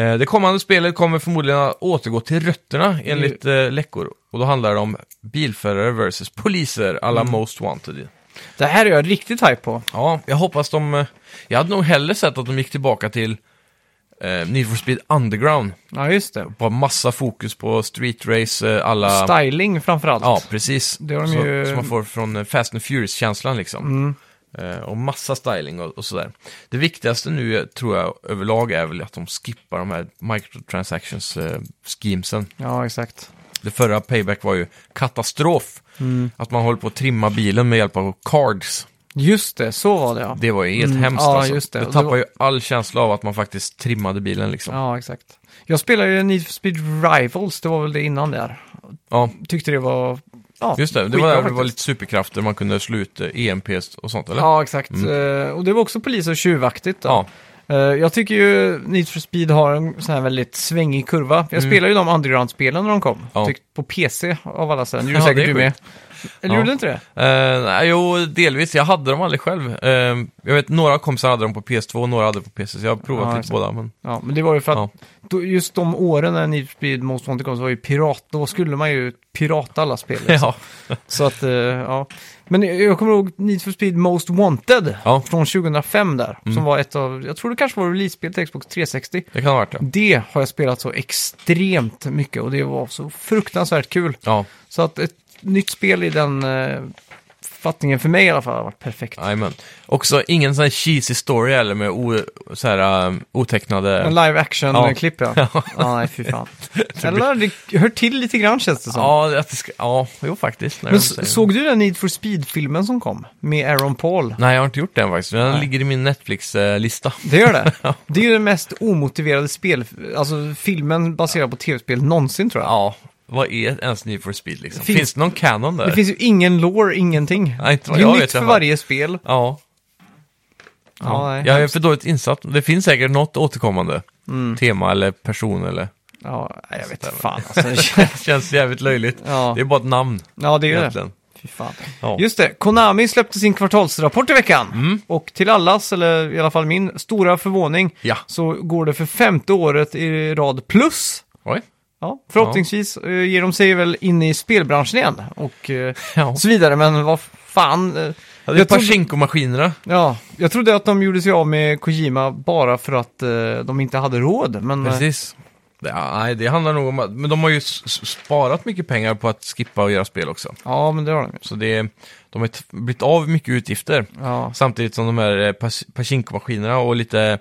S2: Eh, det kommande spelet kommer förmodligen att återgå till rötterna enligt eh, läckor. Och då handlar det om bilförare versus poliser alla Most Wanted.
S1: Det här är jag riktigt hype på.
S2: Ja, jag hoppas de... eh, Jag hade nog hellre sett att de gick tillbaka till eh, Need for Speed Underground.
S1: Ja, just det.
S2: Bara massa fokus på street race, eh, alla...
S1: Styling framförallt.
S2: Ja, precis.
S1: Det har de
S2: så,
S1: ju- Mm.
S2: Som man får från eh, Fast and Furious-känslan liksom. Eh, och massa styling och, och sådär. Det viktigaste nu eh, tror jag överlag är väl att de skippar de här microtransactions eh, schemesen.
S1: ja exakt.
S2: Det förra Payback var ju katastrof.
S1: Mm.
S2: Att man håller på att trimma bilen med hjälp av cards.
S1: Just det, så var det ja.
S2: Det var ju helt hemskt
S1: Mm. Ja,
S2: alltså.
S1: just det. Och det
S2: tappar
S1: var-
S2: ju all känsla av att man faktiskt trimmade bilen liksom. Ja,
S1: Ja, exakt. Jag spelade ju Need for Speed Rivals, det var väl det innan där. Tyckte det var ja,
S2: Just det, det
S1: skitbra
S2: var, där det
S1: faktiskt.
S2: var lite superkrafter, man kunde eh, sluta EMPs E och sånt eller? Mm.
S1: Ja, exakt. Eh, och det var också polis och tjuvaktigt. Då.
S2: Ja.
S1: Eh, jag tycker ju Need for Speed har en sån här väldigt svängig kurva. Jag spelade ju de underground-spelen när de kom.
S2: Mm. Ja.
S1: Tyckte på PC av alla ställen. Det gjorde
S2: Ja,
S1: säkert
S2: det
S1: du
S2: är
S1: med. Eller
S2: Ja.
S1: gjorde du inte det?
S2: Eh, nej, jo, delvis. Jag hade dem aldrig själv. Eh, jag vet, några kompisar hade dem på PS2 och några hade på PC, så jag har provat
S1: Ja,
S2: lite
S1: just det. <laughs>
S2: båda. Men...
S1: Ja, men det var ju för att
S2: Ja.
S1: då, just de åren när Need for Speed Most Wanted kom så var ju pirat. Då skulle man ju pirata alla spel. liksom.
S2: Ja.
S1: Så att, eh, ja. Men jag kommer ihåg Need for Speed Most Wanted
S2: ja, Mm.
S1: från 2005 där. Som var ett av, jag tror det kanske var release-spel till Xbox 360.
S2: det kan ha varit det.
S1: Det har jag spelat så extremt mycket och det var så fruktansvärt kul.
S2: Ja,
S1: Så att ett nytt spel i den eh, fattningen för mig i alla fall har varit perfekt.
S2: jajamän. Också ingen sån här cheesy story eller med o, så här, eh, otecknade...
S1: En live
S2: <laughs> Ja.
S1: action-klipp ja. ja. nej, fy
S2: <laughs>
S1: fan. Eller det hör till lite grann känns det som.
S2: Ja, att det ska... ja, jo faktiskt. när
S1: Men
S2: de säger
S1: s-
S2: det.
S1: såg du den Need for Speed-filmen som kom? Med Aaron Paul?
S2: Nej, jag har inte gjort den faktiskt. Den
S1: Nej.
S2: ligger i min Netflix-lista.
S1: Det gör
S2: <laughs>
S1: det. Det är ju den mest omotiverade spel, alltså filmen baserad på tv-spel någonsin tror jag.
S2: Ja, vad är ens Need for Speed liksom?
S1: Finns-
S2: Finns, det någon canon där?
S1: Det finns ju ingen lore, ingenting.
S2: Nej,
S1: det är
S2: inte vad
S1: ju
S2: jag
S1: nytt
S2: vet i
S1: för
S2: alla fall.
S1: varje spel.
S2: Ja.
S1: Ja, nej.
S2: jag är för dåligt insatt. Det finns säkert något återkommande
S1: Mm.
S2: tema eller person eller...
S1: Ja, nej, jag vet inte fan
S2: <laughs>
S1: alltså.
S2: Känns jävligt löjligt.
S1: Ja.
S2: Det är bara ett namn.
S1: Ja, det är ju det.
S2: egentligen.
S1: Fy fan.
S2: Ja. Mm.
S1: Just det, Konami släppte sin kvartalsrapport i veckan. Och till allas, eller i alla fall min, stora förvåning
S2: Ja.
S1: så går det för femte året i rad plus.
S2: Oj.
S1: Ja, förhoppningsvis eh, ger de sig väl in i spelbranschen igen och eh,
S2: Ja.
S1: så vidare, men vad fan. eh,
S2: Ja, det är
S1: jag, trodde,
S2: Pachinko-maskinerna.
S1: ja, jag trodde att de gjorde sig av med Kojima bara för att eh, de inte hade råd, men eh,
S2: Precis. Det, ja, nej, det handlar nog om att... Men de har ju s- s- sparat mycket pengar på att skippa och göra spel också.
S1: ja, men det har de ju.
S2: Så det, de har t- blivit av mycket utgifter.
S1: Ja,
S2: Samtidigt som de här eh, pas- Pachinko-maskinerna och lite,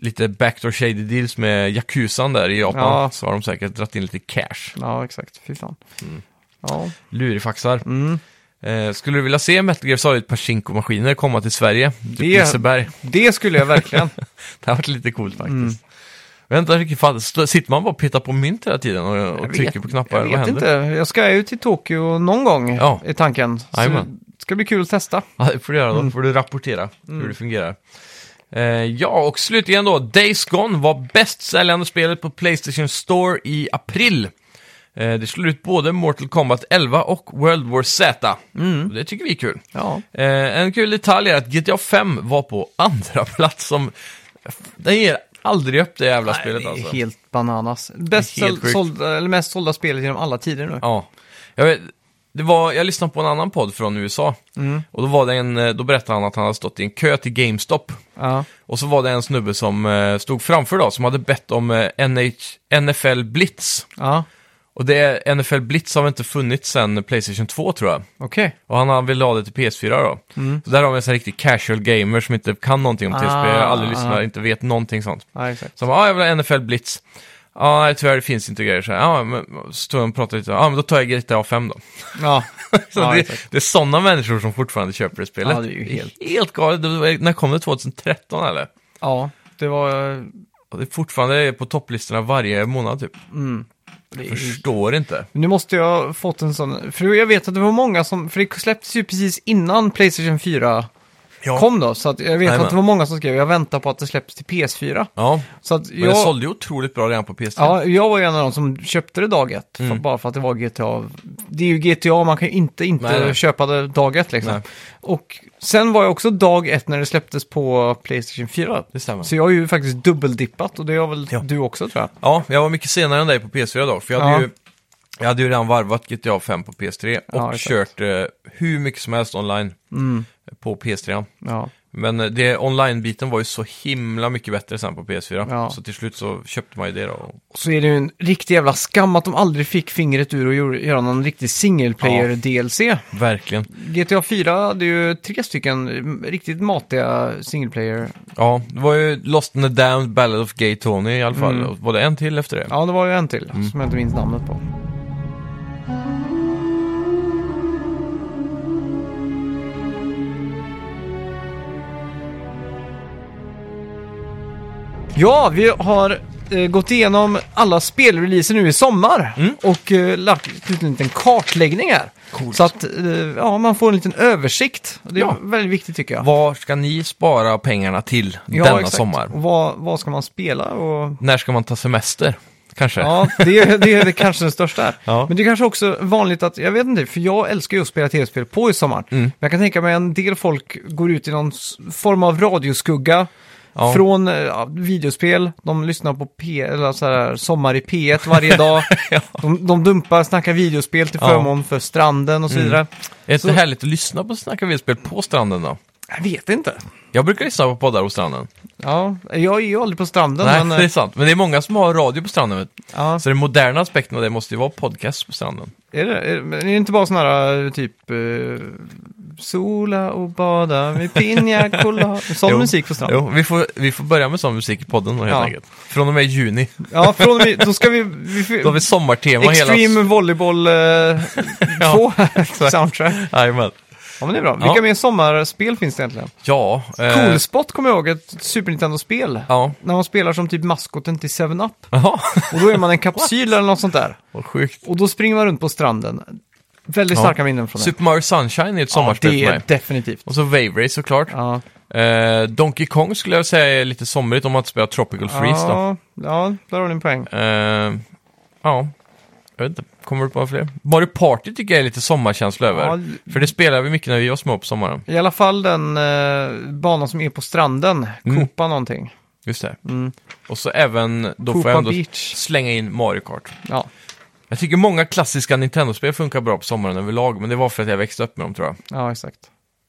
S2: lite backdoor shady deals med Yakuzan där i Japan.
S1: Ja.
S2: Så har de säkert dragit in lite cash.
S1: ja exakt. Fy fan.
S2: Mm.
S1: Ja.
S2: Lurifaxar.
S1: Mm.
S2: Eh, skulle du vilja se Metal Gear Solid Pachinko-maskiner komma till Sverige? Typ
S1: Det-
S2: Liseberg.
S1: Det skulle jag verkligen.
S2: Det har varit lite coolt faktiskt.
S1: Mm.
S2: Jag vet inte riktigt, fan, stå- sitter man bara och petar på mynt hela tiden och, och
S1: Jag
S2: trycker
S1: vet-
S2: på knappar?
S1: Jag
S2: Vad
S1: vet
S2: händer?
S1: inte. Jag ska ju till Tokyo någon gång,
S2: Ja.
S1: är tanken. Så
S2: Jajamän.
S1: det ska bli kul att testa.
S2: Ja, det får du göra
S1: Mm.
S2: då. får du rapportera hur det fungerar. Eh, ja, och slutligen då. Days Gone var bäst säljande spelet på Playstation Store i april. Eh, det slog ut både Mortal Kombat 11 och World War Z.
S1: Mm.
S2: Och Det tycker vi är kul.
S1: Ja.
S2: Eh, en kul detalj är att GTA 5 var på andra <laughs> plats som... Den ger aldrig upp det jävla spelet
S1: det är
S2: alltså.
S1: helt bananas. Bäst
S2: Det är helt
S1: sål-
S2: sjukt.
S1: sålda, eller mest sålda spelet genom alla tider nu.
S2: Ja. Jag, vet, det var, jag lyssnade på en annan podd från USA.
S1: Mm.
S2: Och då, var det en, eh, då berättade han att han hade stått i en kö till GameStop.
S1: Ja.
S2: Och så var det en snubbe som eh, stod framför då, som hade bett om eh, NH, NFL Blitz.
S1: Ja,
S2: Och det NFL Blitz har inte funnits sedan Playstation 2 tror jag.
S1: okej.
S2: Och han- han ville ha det till PS4 då. Så där har vi en sån här riktig casual gamer som inte kan någonting om
S1: Mm. Ah,
S2: TSP, aldrig lyssnar,
S1: ah.
S2: inte vet någonting sånt.
S1: Ja, exakt.
S2: Så han bara, ah, jag vill ha NFL Blitz. Ja, ah, nej, tyvärr det finns inte grejer så här. Ja, ah, men så stod han och pratade lite. Ja, ah, men då tar jag GTA 5 då. <laughs>
S1: Ja.
S2: Så
S1: ja,
S2: det,
S1: exakt.
S2: det är sådana människor som fortfarande köper det spelet.
S1: Ja, det är ju helt-
S2: helt galet. Det var- När kom det? 2013 eller?
S1: ja, det var...
S2: Och det är fortfarande på topplistorna varje månad typ.
S1: Det är...
S2: Förstår inte.
S1: Nu måste jag ha fått en sån... För jag vet att det var många som... För det släpptes ju precis innan Playstation 4
S2: Ja.
S1: kom då. Så att jag vet
S2: Jajamän.
S1: att det var många som skrev jag väntar på att det släpps till PS4.
S2: Ja,
S1: Så att
S2: men
S1: jag...
S2: det sålde ju otroligt bra redan på PS3.
S1: Ja, jag var ju en av de som köpte det dag ett,
S2: Mm.
S1: för, bara för att det var GTA. Det är ju GTA, man kan ju inte inte
S2: Nej, nej.
S1: köpa det dag ett liksom.
S2: Nej.
S1: Och sen var jag också dag ett när det släpptes på Playstation 4.
S2: Det stämmer.
S1: Så jag har ju faktiskt dubbeldippat och det har väl
S2: Ja.
S1: du också tror jag.
S2: Ja, jag var mycket senare än dig på PS4 då, för jag hade,
S1: Ja.
S2: ju, jag hade ju redan varvat GTA 5 på PS3 och
S1: Ja, exakt. Mm.
S2: kört eh, hur mycket som helst online på PS3.
S1: Ja,
S2: Men eh, det online-biten var ju så himla mycket bättre sen på PS4.
S1: Ja.
S2: Så till slut så köpte man ju det då. Och-
S1: och så är det ju en riktig jävla skam att de aldrig fick fingret ur och gjorde- göra någon riktig single player DLC.
S2: Verkligen.
S1: GTA 4 hade ju tre stycken mm, riktigt matiga single player.
S2: Ja, det var ju Lost in the Damned, Ballad of Gay Tony i alla
S1: Mm.
S2: fall. Och Var det en till efter det?
S1: Ja, det var ju en till
S2: Mm.
S1: som jag inte minns namnet på. Ja, vi har eh, gått igenom alla spelreleaser nu i sommar och eh, lagt ut en liten kartläggning här.
S2: Mm. Coolt.
S1: Så att eh, ja, man får en liten översikt. Det är
S2: Ja.
S1: väldigt viktigt tycker jag.
S2: Var ska ni spara pengarna till
S1: ja,
S2: denna
S1: exakt.
S2: sommar?
S1: Och vad, vad ska man spela? Och...
S2: När ska man ta semester? Kanske?
S1: Ja, det är, det är det kanske den största här.
S2: Ja.
S1: Men det är kanske också vanligt att, jag vet inte, för jag älskar ju att spela tv-spel på i sommar.
S2: Mm.
S1: Men jag kan tänka mig en del folk går ut i någon s- form av radioskugga
S2: Ja.
S1: från eh, ja, videospel. De lyssnar på P, eller så här, Sommar i P1 varje
S2: <laughs>
S1: dag. de, de dumpar, snackar videospel till
S2: Ja. Mm.
S1: förmån för stranden och så vidare.
S2: Är det inte
S1: Så-
S2: härligt att lyssna på Snacka videospel på stranden då?
S1: Jag vet inte.
S2: Jag brukar lyssna på poddar på stranden.
S1: Ja, jag är ju aldrig på stranden,
S2: Nej,
S1: men...
S2: <laughs> det är
S1: eh,
S2: sant. Men det är många som har radio på stranden. Vet. du.
S1: Ja,
S2: Så den moderna aspekten av det måste ju vara podcast på stranden.
S1: är det, är, men är det inte bara sådana här eh, typ... Eh, sola och bada med piña colada. Sån
S2: Jo.
S1: musik på stranden.
S2: Jo, vi får, vi får börja med sån musik i podden då, helt
S1: Ja.
S2: enkelt. Från och med juni.
S1: Ja, från och med, då ska vi... vi, vi
S2: Då har vi sommartema
S1: Extreme
S2: hela...
S1: Volleyball 2
S2: <laughs> Ja,
S1: soundtrack.
S2: Jajamän.
S1: Ja, men det är bra.
S2: Ja.
S1: Vilka mer sommarspel finns det egentligen?
S2: Ja. eh,
S1: Cool Spot kommer jag ihåg, ett Super Nintendo-spel.
S2: Ja.
S1: När man spelar som typ maskoten till 7-Up.
S2: Jaha,
S1: Och då är man en kapsyl eller något sånt där.
S2: <laughs> vad sjukt.
S1: Och då springer man runt på stranden. Väldigt
S2: Ja.
S1: starka minnen från det.
S2: Super Mario Sunshine är ett sommarspel
S1: ja, det
S2: för
S1: är
S2: mig.
S1: definitivt.
S2: Och så Wave Race såklart.
S1: Ja.
S2: Eh, Donkey Kong skulle jag säga är lite somrigt om man inte spelar Tropical Freeze då.
S1: ja, ja, där har du en poäng.
S2: Eh, ja, jag vet inte. Kommer du på fler? Mario Party tycker jag är lite sommarkänsla över.
S1: Ja,
S2: För det spelade vi mycket när vi var små på sommaren.
S1: I alla fall den eh, banan som är på stranden,
S2: Mm.
S1: Koopa någonting.
S2: Just det. Och så även, då får
S1: Mm. Koopa
S2: jag ändå
S1: Beach.
S2: slänga in Mario Kart.
S1: Ja.
S2: Jag tycker många klassiska Nintendo-spel funkar bra på sommaren överlag, men det var för att jag växte upp med dem tror jag.
S1: Ja, exakt.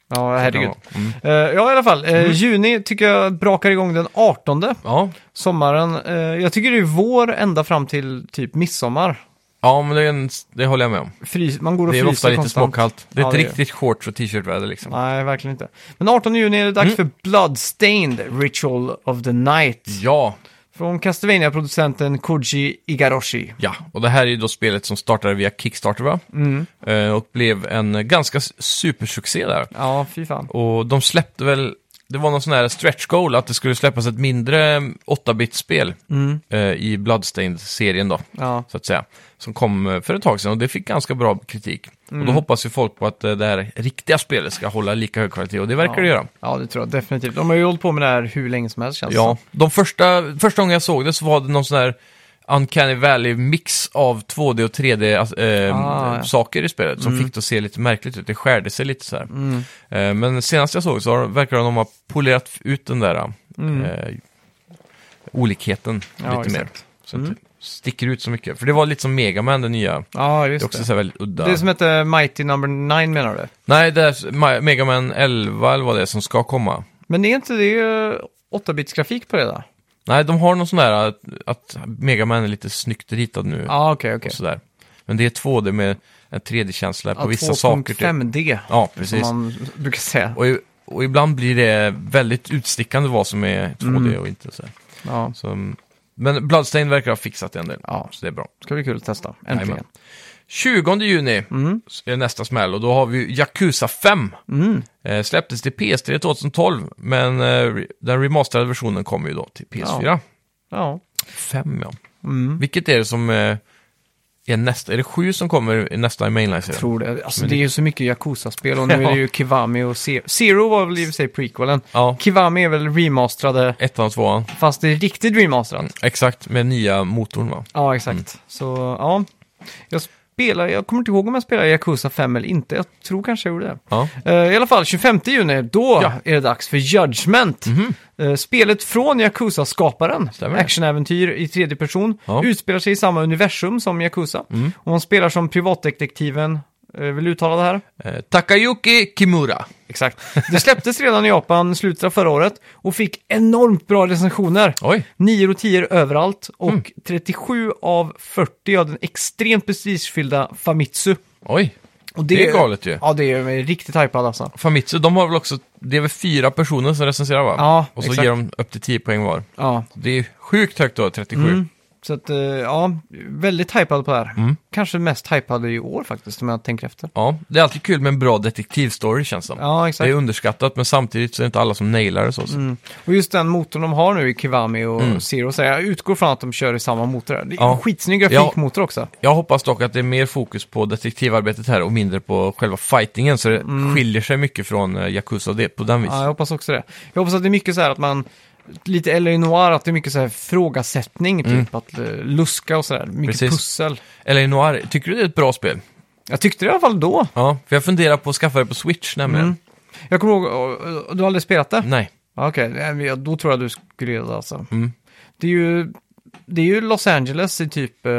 S1: Ja, herregud.
S2: Ja, mm.
S1: Eh, ja, i alla fall. eh, Juni tycker jag brakar igång den 18.
S2: ja.
S1: Sommaren. eh, jag tycker det är vår ända fram till typ midsommar.
S2: ja men det, är en, det håller jag med om.
S1: Frys, man går och
S2: Det är
S1: fryser
S2: ofta lite
S1: konstant.
S2: småkallt. Det är
S1: Ja,
S2: inte
S1: det är
S2: riktigt shorts och t-shirt-väder liksom.
S1: Nej, verkligen inte. Men 18 juni är det
S2: Mm.
S1: dags för Bloodstained Ritual of the Night.
S2: Ja,
S1: Från Castlevania-producenten Koji Igarashi.
S2: ja. Och det här är ju då spelet som startade via Kickstarter va?
S1: Mm.
S2: Eh, och blev en ganska s- supersuccé där.
S1: Ja, fy fan.
S2: Och de släppte väl, det var någon sån här stretch goal att det skulle släppas ett mindre 8-bit-spel
S1: Mm.
S2: eh, i Bloodstained-serien då,
S1: Ja.
S2: så att säga. Som kom eh, för ett tag sedan och det fick ganska bra kritik. Och då
S1: Mm.
S2: hoppas ju folk på att eh, det här riktiga spelet ska hålla lika hög kvalitet och det verkar det göra.
S1: Ja, det tror jag definitivt. De har ju hållit på med det här hur länge som helst känns det
S2: Ja, de första, första gången jag såg det så var det någon sån här Uncanny Valley-mix av 2D och 3D-saker
S1: Ah, ja.
S2: i spelet som fick det att se lite märkligt ut. Det skärde sig lite så här.
S1: Mm.
S2: Eh, men senast jag såg så har, verkar de ha polerat ut den där
S1: Mm.
S2: eh, olikheten
S1: Ja,
S2: lite mer.
S1: exakt.
S2: Så att det sticker ut så mycket. För det var lite som Mega Man, det nya.
S1: Ja,
S2: Det är
S1: just
S2: också
S1: det.
S2: så här väldigt udda.
S1: Det som heter Mighty Number 9 menar du?
S2: Nej, det är Ma- Mega Man 11 eller vad det är som ska komma.
S1: Men är inte det 8-bits grafik på det där?
S2: Nej, de har någon sån där att, att Mega Man är lite snyggt ritad nu.
S1: Ja, okej, okej.
S2: och sådär. Men det är 2D med en 3D-känsla på vissa saker. typ.
S1: 2.5D,
S2: Ja,
S1: som
S2: precis.
S1: man brukar säga.
S2: Och, i- och ibland blir det väldigt utstickande vad som är 2D
S1: Mm.
S2: och inte så. här.
S1: Ja,
S2: så. mm, Men Bloodstain verkar ha fixat det en del,
S1: Ja.
S2: så det är bra.
S1: ska bli kul att testa. Äntligen.
S2: Jajamän. 20 juni
S1: Mm.
S2: är nästa smäll och då har vi Yakuza 5. Eh, släpptes till PS3 2012, men eh, re- den remasterade versionen kommer ju då till PS4.
S1: Ja. Ja. mm.
S2: 5 ja. Vilket är det som eh, är nästa? Är det 7 som kommer i nästa i
S1: Jag
S2: mainline-serien?
S1: tror det. Alltså, det är ju så mycket Yakuza-spel
S2: <laughs>
S1: och nu är det ju Kivami och Zero. Zero var väl i och för sig prequelen.
S2: Ja.
S1: Kivami är väl remasterade,
S2: Ettan och tvåan.
S1: fast det är riktigt remasterat.
S2: Exakt, med nya motorn va?
S1: Ja, exakt.
S2: Mm.
S1: Så, ja. Jag spelar, jag kommer inte ihåg om jag spelar Yakuza 5 eller inte. Jag tror kanske jag gjorde det.
S2: Ja.
S1: Eh, I alla fall 25 juni, då
S2: Ja. Mhm.
S1: är det dags för Judgment. Eh, spelet från Yakuza-skaparen,
S2: Stämmer det.
S1: actionäventyr i tredje person,
S2: Ja. Mm.
S1: utspelar sig i samma universum som Yakuza. Och man spelar som privatdetektiven, eh, vill du uttala det här?
S2: Eh, Takayuki Kimura.
S1: Exakt. Det släpptes redan i Japan i slutet av förra året och fick enormt bra
S2: <laughs>
S1: recensioner.
S2: Oj.
S1: 9 och 10 överallt och
S2: Mm.
S1: 37 av 40 av den extremt prestigefyllda Famitsu.
S2: Oj.
S1: Och
S2: Det är galet ju.
S1: Ja, det är jag är riktigt hypad alltså.
S2: Famitsu, de har väl också, det är väl fyra personer som recenserar va?
S1: Ja,
S2: Och så
S1: exakt.
S2: ger de upp till 10 poäng var.
S1: Ja.
S2: Det är sjukt högt då, 37.
S1: Så att, eh, ja, väldigt hypad på det här.
S2: Mm.
S1: Kanske mest hypade i år faktiskt, om jag tänker efter.
S2: Ja, det är alltid kul med en bra detektivstory känns det som.
S1: Ja,
S2: det är
S1: exakt. Mm.
S2: underskattat, men samtidigt så är det inte alla som nailar det så. så.
S1: Och just den motorn de har nu i Kiwami och
S2: Mm.
S1: Zero, så jag utgår från att de kör i samma motor. här. Det är
S2: Ja.
S1: en skitsnygg
S2: Ja.
S1: grafikmotor också.
S2: Jag hoppas dock att det är mer fokus på detektivarbetet här och mindre på själva fightingen, så det skiljer sig mycket från eh, Yakuza och det, på den
S1: Mm. Ja,
S2: visen.
S1: jag hoppas också det. Jag hoppas att det är mycket så här att man, lite L.A. Noir, att det är mycket så här frågasättning, typ
S2: Mm.
S1: att eh, luska och sådär. Mycket
S2: Precis.
S1: pussel.
S2: Eller Noir, tycker du det är ett bra spel?
S1: Jag tyckte det i alla fall då.
S2: Ja, för jag funderar på att skaffa det på Switch nämligen.
S1: Mm. Jag kommer ihåg, och- och du har aldrig spelat det?
S2: Nej.
S1: Ja, Okej, nej, men jag- då tror jag du skulle göra det alltså.
S2: Mm.
S1: Det är ju, det är ju Los Angeles i typ eh,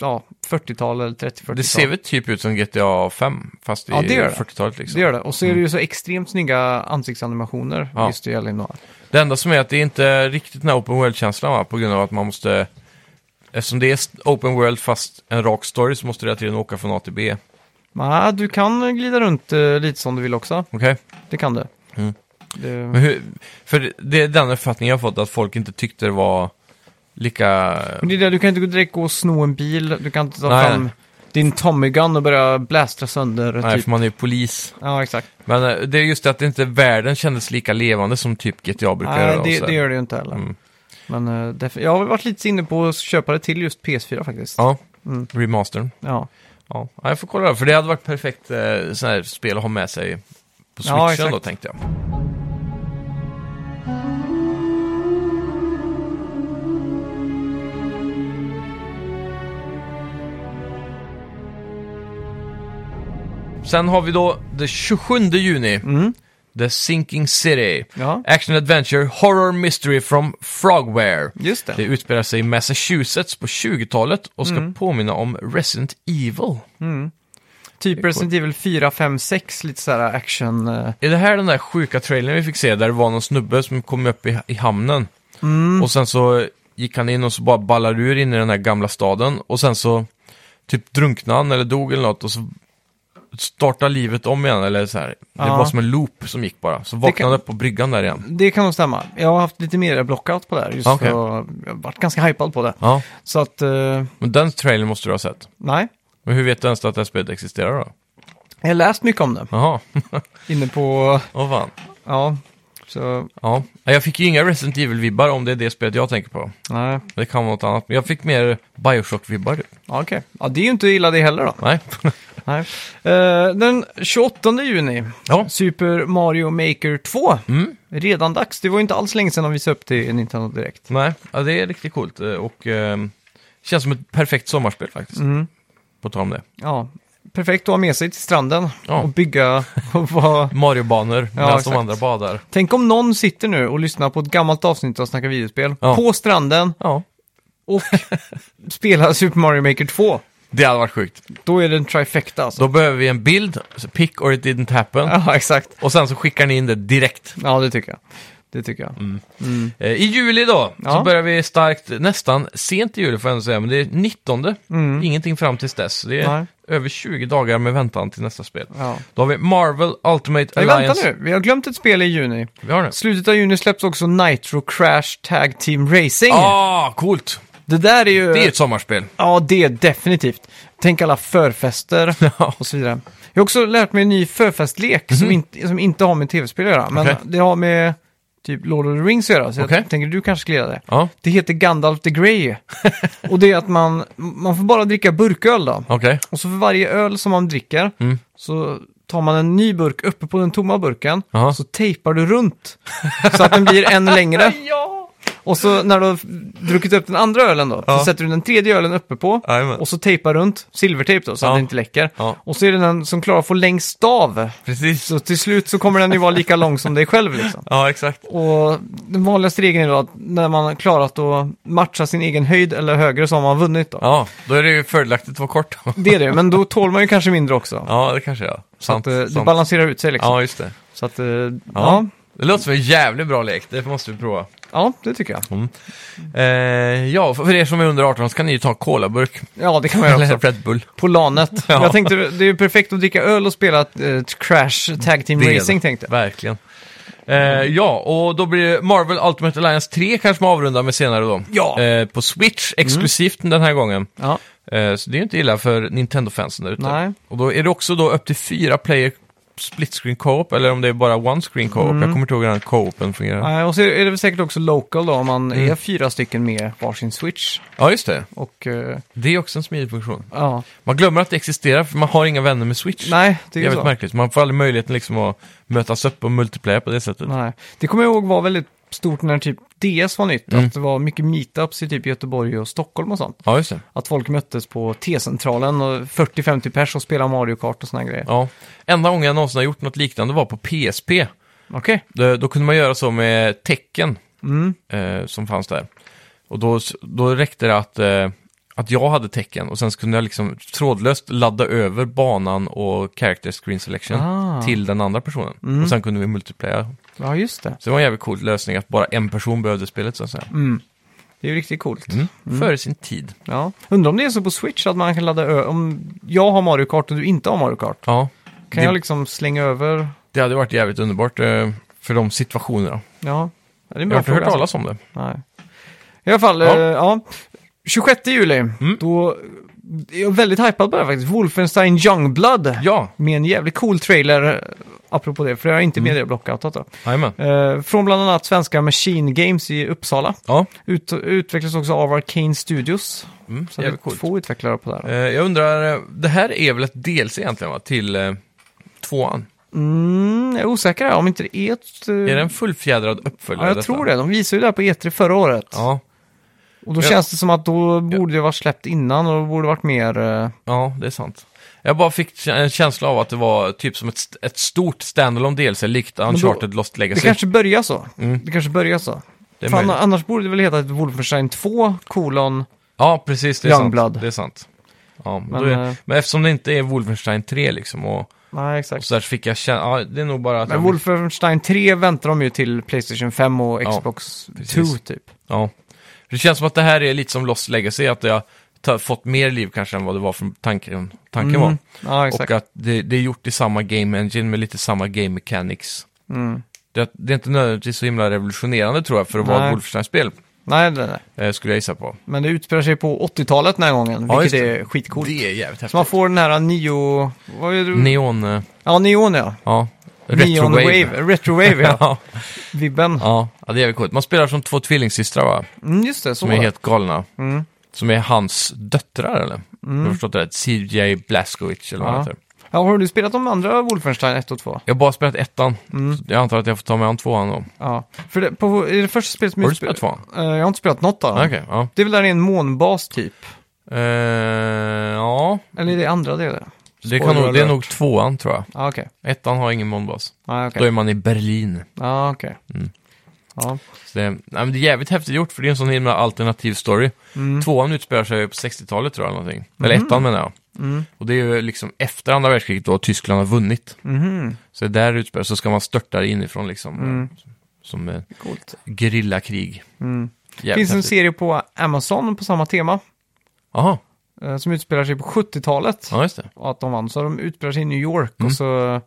S1: ja, 40-tal eller 30-40-tal.
S2: Det ser väl typ ut som GTA 5, fast i
S1: Ja, det gör det.
S2: 40-talet liksom.
S1: Det gör det. Och så är det ju så extremt snygga ansiktsanimationer
S2: Ja.
S1: just i L.A. Noir.
S2: Det enda som är att det är inte riktigt den här open world-känslan va? på grund av att man måste... Eftersom det är st- open world fast en rak story så måste du hela tiden åka från A till B.
S1: Men, du kan glida runt eh, lite som du vill också.
S2: Okej?
S1: Det kan du.
S2: Mm.
S1: Det...
S2: Men hur- För det är den uppfattningen jag har fått att folk inte tyckte det var lika...
S1: Men det är det, du kan inte gå direkt gå och sno en bil, du kan inte ta
S2: Nej.
S1: fram din Tommy Gun och börja blästra sönder.
S2: Nej,
S1: typ.
S2: för man är ju polis.
S1: Ja, exakt.
S2: Men eh, det är just det att inte världen kändes lika levande som typ GTA brukar
S1: Nej,
S2: göra. och
S1: det,
S2: så
S1: det
S2: här.
S1: gör det ju inte heller.
S2: Mm.
S1: Men eh, därför, jag har varit lite inne på att köpa det till just PS4 faktiskt.
S2: Ja,
S1: Mm.
S2: remastern.
S1: Ja,
S2: Ja. ja, jag får kolla det. För det hade varit perfekt eh, sån här spel att ha med sig på
S1: Ja,
S2: switchen då
S1: exakt.
S2: tänkte jag. Sen har vi då den 27 juni, The Sinking City.
S1: Mm. Ja.
S2: Action Adventure Horror Mystery from Frogware.
S1: just det.
S2: Det utspelar sig i Massachusetts på 20-talet och ska
S1: Mm.
S2: påminna om Resident Evil.
S1: typ Resident Evil 4, 5, 6, lite sådär action. eh,
S2: Är det här den där sjuka trailern vi fick se där det var någon snubbe som kom upp i, i hamnen?
S1: Mm.
S2: Och sen så gick han in och så bara ballade ur in i den här gamla staden och sen så typ drunknade han eller dog eller något och så startade livet om igen eller så här. Det
S1: Ja.
S2: var som en loop som gick bara. Så vaknade
S1: kan-
S2: han upp på bryggan där igen.
S1: Det kan nog stämma. Jag har haft lite mer blockout på det här just
S2: Okej.
S1: för att jag har varit ganska hypad på det.
S2: Ja,
S1: Så att, eh,
S2: men den trailern måste du ha sett.
S1: nej.
S2: Men hur vet du ens att det här spelet existerar då?
S1: Jag har läst mycket om det.
S2: Jaha, <laughs>
S1: Inne på,
S2: åh fan.
S1: ja, så,
S2: Ja, Nej, jag fick ju inga Resident Evil-vibbar om det är det spelet jag tänker på.
S1: nej.
S2: Det kan vara något annat. Men jag fick mer Bioshock-vibbar. typ.
S1: Ja, okej. Ja, det är ju inte illa det heller då. <laughs>
S2: Nej.
S1: Nej. Eh, den 28 juni,
S2: Ja.
S1: Super Mario Maker 2.
S2: Mm.
S1: Redan dags, det var ju inte alls länge sedan de visade upp till Nintendo Direkt.
S2: Nej, ja, det är riktigt coolt. eh, Och eh, känns som ett perfekt sommarspel faktiskt.
S1: Mm.
S2: På tal om det.
S1: Ja, perfekt att ha med sig till stranden
S2: Ja.
S1: och
S2: <laughs>
S1: bygga och vara...
S2: Mario-banor, medan de
S1: Mm. exakt.
S2: andra badar.
S1: Tänk om någon sitter nu och lyssnar på ett gammalt avsnitt av Snacka videospel
S2: Ja.
S1: på stranden
S2: Ja. <laughs>
S1: och spelar Super Mario Maker 2.
S2: Det hade varit sjukt.
S1: Då är det en trifecta alltså.
S2: Då behöver vi en bild, så pick or it didn't happen.
S1: Ja, <laughs> exakt.
S2: Och sen så skickar ni in det direkt.
S1: Ja, det tycker jag. Det tycker jag.
S2: Eh, I juli då, så
S1: Ja.
S2: börjar vi starkt, nästan sent i juli får jag ändå säga, men det är 19. Ingenting fram tills dess. Det är
S1: Mm. Nej.
S2: över 20 dagar med väntan till nästa spel.
S1: Ja.
S2: Då har vi Marvel Ultimate
S1: Nej, vänta
S2: Alliance.
S1: nu, vi har glömt ett spel i juni.
S2: Vi har det.
S1: Slutet av juni släpps också Nitro Crash Tag Team Racing.
S2: Ah, coolt!
S1: Det där är ju...
S2: Det är ett sommarspel.
S1: Ja, det är definitivt. Tänk alla förfester
S2: <laughs> Ja. Mhm.
S1: och så vidare. Jag har också lärt mig en ny förfestlek som, inte, som inte har med tv-spel att göra, men
S2: Okej.
S1: det har med typ Lord of the Rings att göra, så
S2: Okej.
S1: jag tänker du kanske skulle göra det.
S2: Ja,
S1: Det heter Gandalf the
S2: <laughs>
S1: Grey och det är att man, man får bara dricka burköl då.
S2: okej.
S1: Och så för varje öl som man dricker
S2: Mm.
S1: så tar man en ny burk uppe på den tomma burken
S2: Jaha.
S1: så tejpar du runt så att den blir en längre.
S2: Ja!
S1: Och så när du har druckit upp den andra ölen då,
S2: Ja.
S1: så sätter du den tredje ölen uppe på
S2: Jajamän.
S1: och så tejpar runt, silvertejp då, så
S2: Ja.
S1: att den inte läcker.
S2: Ja.
S1: Och så är det den som klarar att få längst stav.
S2: Precis.
S1: Så till slut så kommer den ju vara lika lång som dig själv liksom.
S2: Ja, exakt.
S1: Och den vanligaste regeln är då att när man har klarat att matcha sin egen höjd eller högre så har man vunnit då.
S2: Ja, då är det ju fördelaktigt att vara kort. <laughs>
S1: Det är det, men då tål man ju kanske mindre också.
S2: ja, det kanske jag.
S1: så att
S2: Sant.
S1: eh, det
S2: sant.
S1: balanserar ut sig liksom.
S2: Ja, just det.
S1: Så att, eh, ja.
S2: Det låter som en jävligt bra lek, det måste vi prova.
S1: ja, det tycker jag.
S2: Eh, ja, för för er som är under 18 så kan ni ju ta en <laughs> colaburk.
S1: Ja, det kan man göra också.
S2: Eller Red Bull.
S1: På LANet.
S2: <laughs> Ja.
S1: Jag tänkte, det är ju perfekt att dricka öl och spela ett, eh, Crash Tag Team
S2: Det är
S1: Racing
S2: det.
S1: tänkte jag.
S2: Verkligen. Eh, ja, och då blir det Marvel Ultimate Alliance 3 kanske man avrundar med senare då.
S1: Ja.
S2: Eh, på Switch, exklusivt den här gången.
S1: Ja,
S2: Eh, så det är ju inte illa för Nintendo-fansen där ute.
S1: Nej.
S2: Och då är det också då upp till fyra player split screen co-op, eller om det är bara one screen co-op. Jag kommer inte ihåg hur den co-open fungerar.
S1: Mm. Nej, och så är det väl säkert också local då om man
S2: Mm.
S1: är fyra stycken med varsin switch.
S2: Ja, just det.
S1: Och eh,
S2: Det är också en smidig funktion.
S1: ja,
S2: Man glömmer att det existerar, för man har inga vänner med Switch.
S1: nej, det
S2: det
S1: är
S2: är
S1: ju
S2: jävligt
S1: så.
S2: märkligt. Man får aldrig möjligheten liksom att mötas upp och multiplaya på det sättet.
S1: Nej. Det kommer jag ihåg var väldigt stort när typ DS var nytt.
S2: Mm.
S1: Att det var mycket meetups i typ Göteborg och Stockholm och sånt.
S2: Ja, just det.
S1: Att folk möttes på T-centralen och 40-50 pers och spelade Mario Kart och såna grejer.
S2: Ja. Enda gången jag någonsin har gjort något liknande var på PSP.
S1: Okej.
S2: Då, då kunde man göra så med tecken
S1: Mm.
S2: eh, som fanns där. Och då, då räckte det att, eh, att jag hade tecken och sen så kunde jag liksom trådlöst ladda över banan och character screen selection
S1: Ah.
S2: till den andra personen. Och sen kunde vi multiplaya.
S1: Ja, just det.
S2: Så det var en jävligt cool lösning att bara en person behövde spelet så att säga.
S1: Mm. Det är ju riktigt coolt.
S2: Mm. Före sin tid.
S1: Ja. Undrar om det är så på Switch att man kan ladda ö- Om jag har Mario Kart och du inte har Mario Kart,
S2: Ja,
S1: kan
S2: Det-
S1: jag liksom slänga över?
S2: det hade varit jävligt underbart eh, för de situationerna.
S1: Ja, Ja, det är en
S2: Jag har
S1: bra
S2: inte hört
S1: fråga. alltså.
S2: talas om det.
S1: Nej. I alla fall,
S2: Ja. Mm.
S1: ja. Eh, ja. 26 juli, då är jag väldigt hypad på det här faktiskt. Wolfenstein Youngblood.
S2: Ja,
S1: Med en jävligt cool trailer, eh, apropå det, för jag är inte
S2: Mm.
S1: med i det blockoutat då.
S2: jajamän.
S1: Eh, från bland annat svenska Machine Games i Uppsala.
S2: Ja.
S1: Ut, utvecklas också av Arcane Studios.
S2: Mm,
S1: Så det är
S2: jävligt coolt.
S1: två utvecklare på det här.
S2: Eh, jag undrar, eh, det här är väl ett DLC egentligen va? Till eh, tvåan?
S1: Mm, jag är osäker här, om inte det är ett... eh,
S2: Är det en fullfjädrad
S1: Ja,
S2: uppföljare?
S1: jag tror det. De visade ju det här på E3 förra året.
S2: Ja,
S1: Och då
S2: Ja.
S1: känns det som att då borde det varit släppt innan och då borde det varit mer... eh,
S2: ja, det är sant. Jag bara fick kä- en känsla av att det var typ som ett, st- ett stort standalone DLC, likt Uncharted Lost
S1: Det
S2: Legacy.
S1: kanske börjar så.
S2: Mm.
S1: Det kanske börjar så.
S2: Det är
S1: Fan,
S2: möjligt.
S1: annars borde det väl heta ett Wolfenstein 2, kolon...
S2: Ja, precis, det är sant.
S1: Youngblood.
S2: Det är sant. Ja, men,
S1: Men,
S2: då är,
S1: eh,
S2: men eftersom det inte är Wolfenstein 3 liksom och,
S1: Nej,
S2: och
S1: exakt.
S2: så där så fick jag känna, ja, det är nog bara att
S1: Men
S2: jag-
S1: Wolfenstein 3 väntar de ju till Playstation 5 och
S2: Ja,
S1: Xbox 2
S2: precis.
S1: typ.
S2: Ja. Det känns som att det här är lite som Lost Legacy, att jag har fått mer liv kanske än vad det var från tanken, tanken
S1: Mm.
S2: var.
S1: Ja,
S2: Och eh,
S1: exakt.
S2: att det, det är gjort i samma game engine med lite samma game mechanics.
S1: Mm.
S2: Det, det är inte nödvändigtvis så himla revolutionerande tror jag för att vara
S1: Nej.
S2: ett Wolfenstein-spel,
S1: Nej, nej, nej.
S2: eh, skulle jag gissa på.
S1: Men det utspelar sig på 80-talet den här gången,
S2: Ja,
S1: vilket
S2: just det.
S1: är skitcoolt.
S2: Det är jävligt häftigt.
S1: Så man får den här neo... Vad är det?
S2: Neon, eh,
S1: ja, neon ja.
S2: ja.
S1: Neon
S2: Retrowave.
S1: wave. Retrowave ja.
S2: <laughs> ja.
S1: Vibben.
S2: ja, ja, det är jävligt coolt. Man spelar som två tvillingsystrar va?
S1: Mm, just det, så
S2: Som
S1: var
S2: är
S1: det.
S2: helt galna.
S1: Mm.
S2: Som är hans döttrar eller? Jag har förstått det rätt. CJ Blazkowicz eller vad
S1: Ja.
S2: han heter.
S1: Ja, har du spelat de andra Wolfenstein 1 och 2?
S2: Jag har bara spelat ettan. Så jag antar att jag får ta mig an tvåan då.
S1: Ja. För det, på, i det första spelet som
S2: Har du
S1: utspe-
S2: spelat tvåan?
S1: Eh, jag har inte spelat något av dem.
S2: Okej, ja.
S1: Det är väl där det är en månbas typ?
S2: Eh, ja,
S1: Eller är det andra det? är
S2: det, kan
S1: Spoiler
S2: nog, det är
S1: alert.
S2: nog tvåan tror jag.
S1: Ja, okej.
S2: Ettan har ingen månbas.
S1: Ja,
S2: Då
S1: okej.
S2: är man i Berlin.
S1: Ja, okej.
S2: Mm.
S1: Ja,
S2: Så det, nej, men det är jävligt häftigt gjort, för det är en sån himla alternativ story.
S1: Mm.
S2: Tvåan utspelar sig på 60-talet tror jag, eller någonting.
S1: Mhm.
S2: Eller ettan menar jag.
S1: Mm.
S2: Och det är ju liksom efter andra världskriget då Tyskland har vunnit.
S1: Mhm.
S2: Så det där utspelar så ska man störta det inifrån liksom.
S1: Mm.
S2: Som eh,
S1: Coolt.
S2: gerillakrig.
S1: Mm.
S2: Jävligt
S1: Finns en
S2: häftigt.
S1: serie på Amazon på samma tema.
S2: Jaha,
S1: eh, Som utspelar sig på 70-talet.
S2: ja just det.
S1: Och att de vann. Så de utspelar sig i New York
S2: Mm.
S1: och så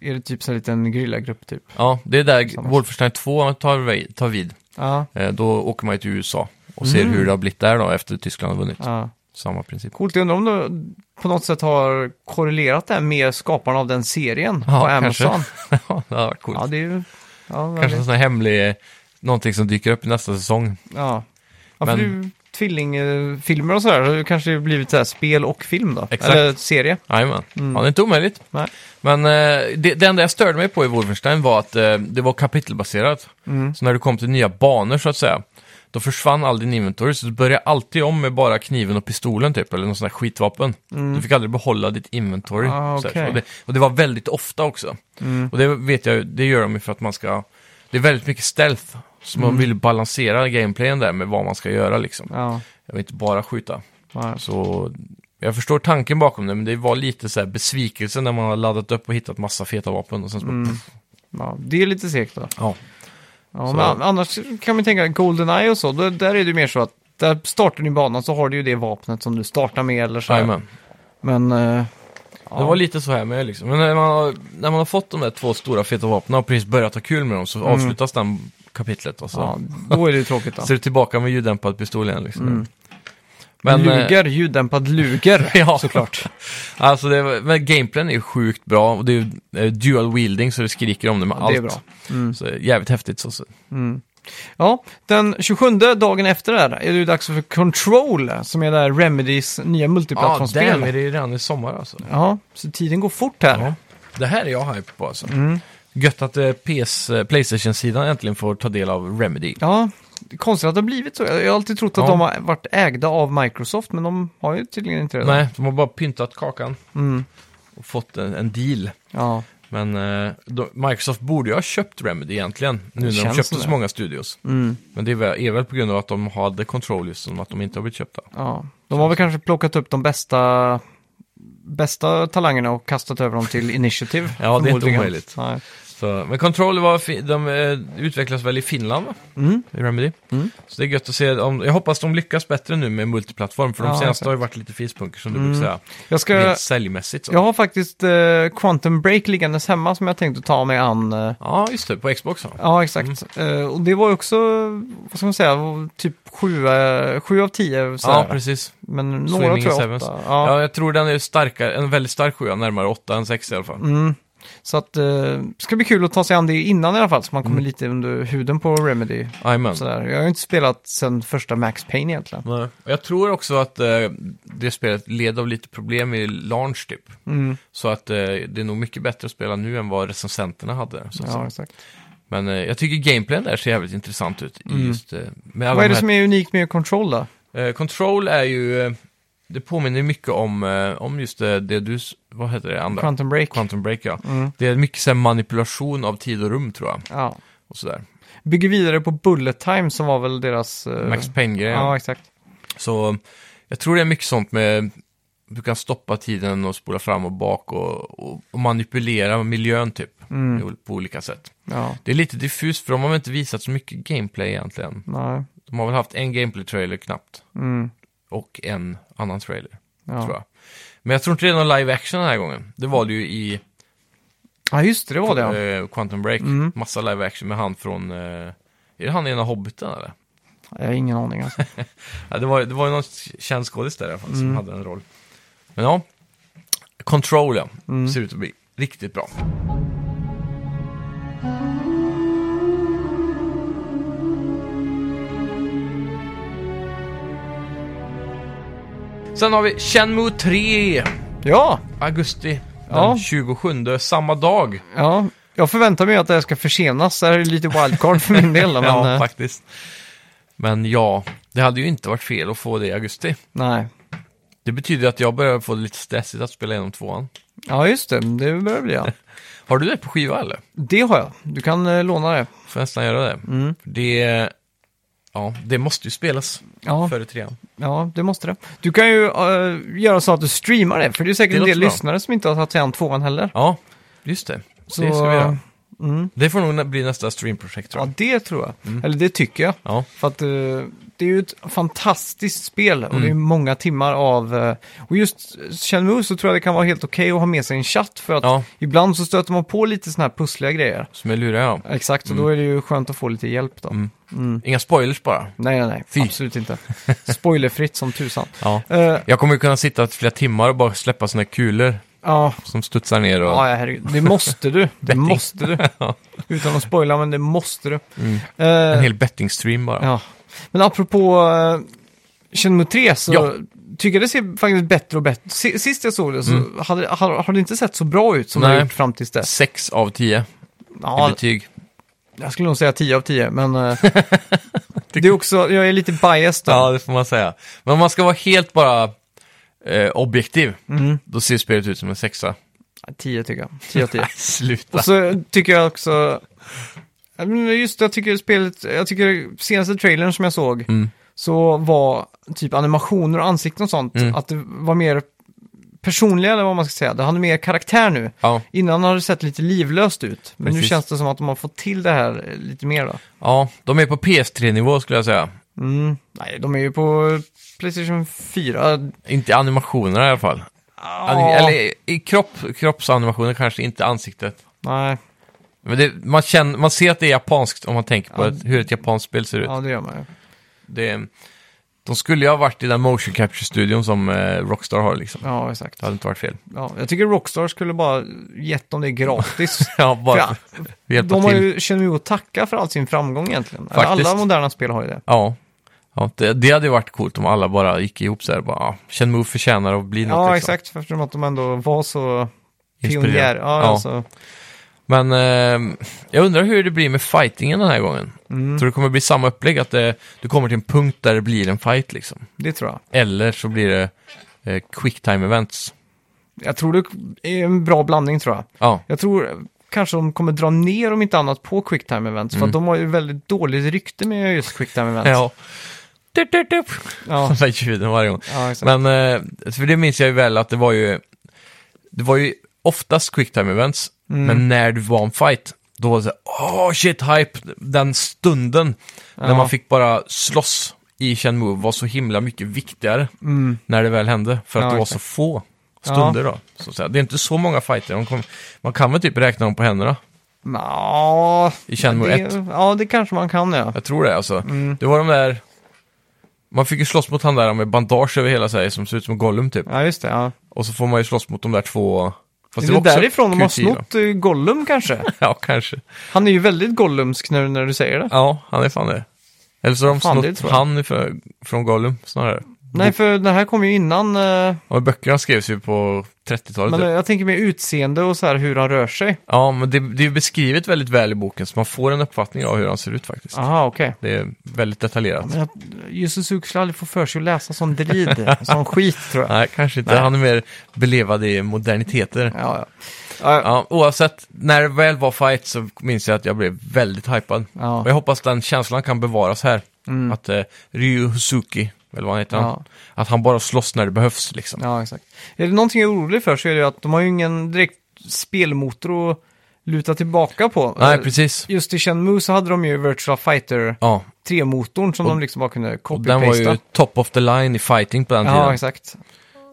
S1: är det typ så här liten grillagrupp typ.
S2: Ja, det är där
S1: Samma.
S2: Wolfenstein 2 tar, vi- tar vid.
S1: Ja,
S2: Eh, då åker man ju till USA och ser hur det har blivit där då efter Tyskland har vunnit.
S1: Mm. ja.
S2: Samma princip. <laughs>
S1: Coolt, jag undrar om du på något sätt har korrelerat det här med skaparna av den serien
S2: Ja,
S1: på
S2: kanske.
S1: Amazon.
S2: ja, det hade varit coolt.
S1: Ja, det är ju... Ja, vem
S2: Kanske en
S1: vet.
S2: sån här hemlig, eh, någonting som dyker upp i nästa säsong.
S1: ja. ja för
S2: Men-
S1: du tvillingfilmer och sådär, så det kanske det blivit så här spel och film då?
S2: Exakt.
S1: Eller serie.
S2: Jajamän, ja, det är inte omöjligt.
S1: Mm. Nej.
S2: Men eh, det, det enda jag störde mig på i Wolfenstein var att eh, det var kapitelbaserat.
S1: Mm.
S2: Så när du kom till nya banor så att säga, då försvann all din inventory. Så du började alltid om med bara kniven och pistolen typ, eller någon sån här skitvapen. Du fick aldrig behålla ditt inventory.
S1: Mm. Ah,
S2: så här.
S1: okej. Mm.
S2: och, det, och det var väldigt ofta också. Och det vet jag, ju, det gör de ju för att man ska... Det är väldigt mycket stealth. Så man vill balansera gameplayen där med vad man ska göra liksom.
S1: Mm. Ja.
S2: Jag vill inte bara skjuta.
S1: ja.
S2: Så Alltså, jag förstår tanken bakom det, men det var lite så här besvikelse när man har laddat upp och hittat massa feta vapen och sen så bara,
S1: Mm.
S2: pff,
S1: ja. Det är lite segt då.
S2: ja.
S1: Ja,
S2: Så-
S1: men an- annars kan man tänka Goldeneye och så, då, där är det mer så att där startar du i banan så har du ju det vapnet som du startar med eller så. här.
S2: Jajamän.
S1: Men eh,
S2: Det var lite så här med liksom. Men när man, har, när man har fått de där två stora feta vapnen och precis börjat ha kul med dem
S1: Mm.
S2: så avslutas den kapitlet och så,
S1: Ja, då är det ju
S2: <laughs>
S1: tråkigt då.
S2: så är du tillbaka med ljuddämpad pistol igen liksom.
S1: Mm.
S2: Men, eh,
S1: luger, ljuddämpad luger,
S2: <laughs> Ja.
S1: såklart.
S2: Alltså det, var- men gameplayen är ju sjukt bra och det är ju eh, dual wielding så det skriker om det med allt.
S1: Det är bra. Mm.
S2: Så jävligt häftigt. Så, så.
S1: Ja, den 27 dagen efter det här är det ju dags för Control, som är där Remedys nya
S2: Ja,
S1: multiplattformsspel.
S2: damn, är det ju redan i sommar alltså.
S1: Ja, så tiden går fort här.
S2: Ja. Det här är jag hype på alltså.
S1: Mm.
S2: Gött att eh, PS, eh, Playstation-sidan äntligen får ta del av Remedy.
S1: Ja, det är konstigt att det har blivit så. Jag har alltid trott att
S2: Ja.
S1: de har varit ägda av Microsoft, men de har ju tydligen inte det.
S2: Nej, de har bara pyntat kakan
S1: Mm.
S2: och fått en, en deal.
S1: Ja,
S2: Men eh, då, Microsoft borde ju ha köpt Remedy egentligen, nu när de
S1: känns
S2: köpte
S1: som
S2: så
S1: det.
S2: många studios.
S1: mm,
S2: Men det är väl, är väl på grund av att de hade Control just som att de inte har blivit köpta.
S1: ja. De har väl kanske plockat upp de bästa, bästa talangerna och kastat över dem till Initiative.
S2: Ja, det är inte
S1: förmodligen.
S2: omöjligt.
S1: Nej.
S2: Så, men Control var fi- de eh, utvecklas väl i Finland, va?
S1: Mm.
S2: Remedy.
S1: Mm.
S2: Så det är gött att se. Om, jag hoppas de lyckas bättre nu med multiplattform, för de
S1: Ja,
S2: senaste
S1: exakt.
S2: har ju varit lite fispunker som du
S1: Mm.
S2: brukar säga.
S1: Jag ska...
S2: Rent säljmässigt. Så.
S1: Jag har faktiskt eh, Quantum Break liggandes hemma som jag tänkte ta mig an. Eh,
S2: Ja, just det. På Xbox. va?
S1: ja, exakt.
S2: Mm.
S1: Eh, och det var ju också, vad ska man säga, typ 7, eh, sju av 10.
S2: Ja, precis.
S1: Men några
S2: Swinging
S1: tror jag
S2: Sevens.
S1: åtta.
S2: Ja.
S1: Ja.
S2: jag tror den är starkare, en väldigt stark sjua, närmare 8 än 6 i alla fall.
S1: Mm. Så att eh, ska bli kul att ta sig an det innan i alla fall, så man
S2: Mm.
S1: kommer lite under huden på Remedy.
S2: Jajamän.
S1: Sådär. Jag har ju inte spelat sen första Max Payne egentligen.
S2: Nej. Och Jag tror också att eh, det spelet led av lite problem i launch typ.
S1: Mm.
S2: Så att eh, det är nog mycket bättre att spela nu än vad recensenterna hade. Så att säga.
S1: Ja, exakt.
S2: Men eh, jag tycker gameplayen där ser jävligt intressant ut. i
S1: Mm.
S2: Just, eh, med alla
S1: Vad är
S2: de
S1: det som är unikt med Control då?
S2: här, eh, Control är ju, eh, det påminner mycket om, eh, om just eh, det du, s- vad heter det andra?
S1: Quantum Break?
S2: Quantum Break ja.
S1: Mm.
S2: Det är mycket så här, manipulation av tid och rum tror jag.
S1: Ja.
S2: Och sådär.
S1: Bygger vidare på Bullet Time som var väl deras... eh,
S2: Max Payne-grejen.
S1: Ja, exakt.
S2: Så jag tror det är mycket sånt med, du kan stoppa tiden och spola fram och bak och, och, och manipulera miljön typ.
S1: Mm.
S2: i- På olika sätt.
S1: Ja,
S2: Det är lite diffust för de har väl inte visat så mycket gameplay egentligen.
S1: nej.
S2: De har väl haft en gameplay-trailer knappt.
S1: Mm.
S2: och en annan trailer,
S1: Ja.
S2: tror jag. Men jag tror inte det är någon live action den här gången. Det var det ju i
S1: ja, just det, det var det. Ja.
S2: eh, Quantum Break.
S1: Mm.
S2: Massa live action med han från... eh, är det han i ena Hobbiten eller?
S1: Jag har ingen aning alltså.
S2: Ja, det, var, det var ju någon känd skådis där i alla fall som hade en roll. Men ja, Control ja. ser ut att bli riktigt bra. Sen har vi Shenmue 3.
S1: Ja,
S2: augusti den
S1: Ja.
S2: 27, samma dag.
S1: ja. Jag förväntar mig att det här ska försenas. Det här är lite wildcard för min
S2: <laughs>
S1: del. då, Men, eh,
S2: faktiskt. Men ja, det hade ju inte varit fel att få det i augusti.
S1: nej.
S2: Det betyder att jag börjar få det lite stressigt att spela igenom tvåan.
S1: Ja, just det. Det börjar bli ja.
S2: Har du det på skiva eller?
S1: Det har jag. Du kan eh, låna det.
S2: Får jag nästan göra det.
S1: Mm.
S2: För Det, ja, det måste ju spelas
S1: Ja,
S2: före trean.
S1: ja, det måste det. Du kan ju eh, göra så att du streamar det. För det är säkert
S2: Det
S1: en
S2: låter
S1: del
S2: bra.
S1: lyssnare som inte har tagit sig an tvåan heller.
S2: Ja, just det.
S1: Så,
S2: det ska vi göra.
S1: Mm.
S2: Det får nog nä- bli nästa streamprojekt tror
S1: Ja,
S2: jag.
S1: det tror jag.
S2: Mm.
S1: Eller det tycker jag.
S2: Ja.
S1: För att eh, det är ju ett fantastiskt spel och det
S2: Mm.
S1: är många timmar av... eh, och just Shenmue så tror jag det kan vara helt okej att ha med sig en chatt för att
S2: Ja.
S1: ibland så stöter man på lite sådana här pussliga grejer.
S2: Som är lurig ja.
S1: Exakt,
S2: Mm.
S1: och då är det ju skönt att få lite hjälp då. Mm.
S2: Inga spoilers bara.
S1: Nej, nej, nej.
S2: Mm. Fy.
S1: Absolut inte. Spoilerfritt som tusan.
S2: Ja.
S1: Eh,
S2: Jag kommer ju kunna sitta flera timmar och bara släppa såna här kulor
S1: Ja,
S2: som studsar ner och...
S1: ja, ja, herregud. Det måste du. Det
S2: <laughs> Betting.
S1: måste du.
S2: Ja. Mm.
S1: Utan att spoila, men det måste du.
S2: En
S1: Eh,
S2: hel bettingstream bara.
S1: Ja. Men apropå uh, Shenmue 3 så
S2: Ja.
S1: tycker jag det ser faktiskt bättre och bättre. Si- Sist jag såg det så hade, har, har det inte sett så bra ut som det
S2: Mm. Nej.
S1: har gjort fram tills dess.
S2: 6 av 10 i
S1: Ja,
S2: betyg.
S1: jag skulle nog säga 10 av 10, men
S2: <laughs>
S1: eh, det är också, jag är lite biased.
S2: Ja,
S1: Ja.
S2: det får man säga. Men om man ska vara helt bara eh, objektiv,
S1: Mm.
S2: då ser spelet ut som en sexa.
S1: 10 tycker jag. 10 av 10.
S2: <laughs> Sluta.
S1: och så tycker jag också, Ja, men just det, jag tycker spelet, jag tycker senaste trailern som jag såg,
S2: Mm.
S1: så var typ animationer och ansikten och sånt,
S2: Mm.
S1: att det var mer personliga eller vad man ska säga. Det hade mer karaktär nu.
S2: Ja,
S1: Innan har det sett lite livlöst ut, men nu
S2: Precis.
S1: känns det som att de har fått till det här eh, lite mer då.
S2: ja, de är på PS3-nivå skulle jag säga.
S1: Mm. Nej, de är ju på Playstation 4.
S2: Inte animationerna i alla fall. Eller i- i kropp, kroppsanimationer kanske, inte ansiktet.
S1: Nej,
S2: Men det, man, känner, man ser att det är japanskt om man tänker på
S1: Ja.
S2: ett, hur ett japanskt spel ser ut.
S1: ja det gör man ju.
S2: Det, de skulle ju ha varit i den motion capture-studion som eh, Rockstar har liksom.
S1: Ja, exakt.
S2: Det hade inte varit fel. <laughs>
S1: Ja, jag tycker Rockstar skulle bara gett dem det gratis.
S2: Ja, <laughs> bara
S1: Ja,
S2: för att hjälpa
S1: De har
S2: till.
S1: ju, känner ju att tacka för all sin framgång egentligen. Eller
S2: Faktiskt.
S1: Alla moderna spel har ju det.
S2: Ja. ja det, det hade ju varit coolt om alla bara gick ihop så här. Bara, ja, känn move förtjänar att bli något.
S1: Ja,
S2: liksom.
S1: exakt. för Eftersom att de ändå var så pionjär.
S2: Inspirerad.
S1: Ja,
S2: Ja.
S1: Alltså,
S2: Men eh, jag undrar hur det blir med fightingen den här gången. Tror du det kommer bli samma upplägg? Att det, du kommer till en punkt där det blir en fight liksom?
S1: det tror jag.
S2: Eller så blir det eh, quick time events?
S1: Jag tror det är en bra blandning tror jag.
S2: Ja,
S1: Jag tror kanske de kommer dra ner om inte annat på quicktime events. För att de har ju väldigt dåligt rykte med just quicktime events.
S2: Mm. ja. Dup, dup, <laughs> dup.
S1: ja.
S2: De där ljuden varje gång.
S1: ja exakt.
S2: Men, eh, för det minns jag ju väl att det var ju, det var ju oftast quicktime events,
S1: Mm.
S2: men när du var en fight, då var det så här, åh shit, hype, den stunden när
S1: Ja.
S2: man fick bara slåss i Chen Move var så himla mycket viktigare
S1: Mm.
S2: när det väl hände, för att
S1: Ja,
S2: det var så
S1: exakt.
S2: få stunder då. Så att säga. Det är inte så många fighter, de kom, man kan väl typ räkna dem på händerna
S1: Nå,
S2: i Chen Move 1.
S1: det, Mm. ja, det kanske man kan ja.
S2: Jag tror det alltså. Det var de där, man fick ju slåss mot han där med bandage över hela sig som ser ut som Gollum typ.
S1: Ja, just det. Ja.
S2: Och så får man ju slåss mot de där två... Fast
S1: det är
S2: var också
S1: därifrån de har
S2: Q10 då.
S1: snott eh, Gollum kanske.
S2: <laughs> Ja, kanske.
S1: Han är ju väldigt Gollumsk nu när du säger det.
S2: Ja, han är fan det. Eller så har de
S1: Fan, det
S2: snott
S1: tror jag.
S2: han ifrån- från Gollum snarare.
S1: Nej, för den här kom ju innan. eh,
S2: Och böckerna skrevs ju på 30-talet.
S1: Men eh,
S2: typ.
S1: jag tänker med utseende och så här hur han rör sig.
S2: Ja, men det, det är beskrivet väldigt väl i boken, så man får en uppfattning av hur han ser ut faktiskt.
S1: Aha, okej.
S2: Det är väldigt detaljerat.
S1: Men jag, Jussi Suzuki skulle aldrig få för sig att läsa sån
S2: <laughs>
S1: drid, sån skit tror jag.
S2: Nej, kanske inte.
S1: Nej.
S2: Han är mer belevad i moderniteter. Ja.
S1: Ja, ja. Ja, ja.
S2: oavsett, när det väl var fight så minns jag att jag blev väldigt hypad.
S1: Ja. Mm.
S2: Och jag hoppas den känslan kan bevaras här. Att eh, Ryu Husuki, eller vad han heter, han,
S1: Ja.
S2: Att han bara slåss när det behövs liksom.
S1: ja, exakt. Är det någonting jag är orolig för så är det ju att de har ju ingen direkt spelmotor att luta tillbaka på.
S2: Nej,
S1: Eh,
S2: precis.
S1: Just i Shenmue så hade de ju Virtual Fighter
S2: Ja,
S1: 3-motorn som
S2: Och-
S1: de liksom bara kunde
S2: och den var ju
S1: copy-pasta.
S2: top of the line i fighting på den
S1: Ja,
S2: tiden.
S1: exakt. Mm.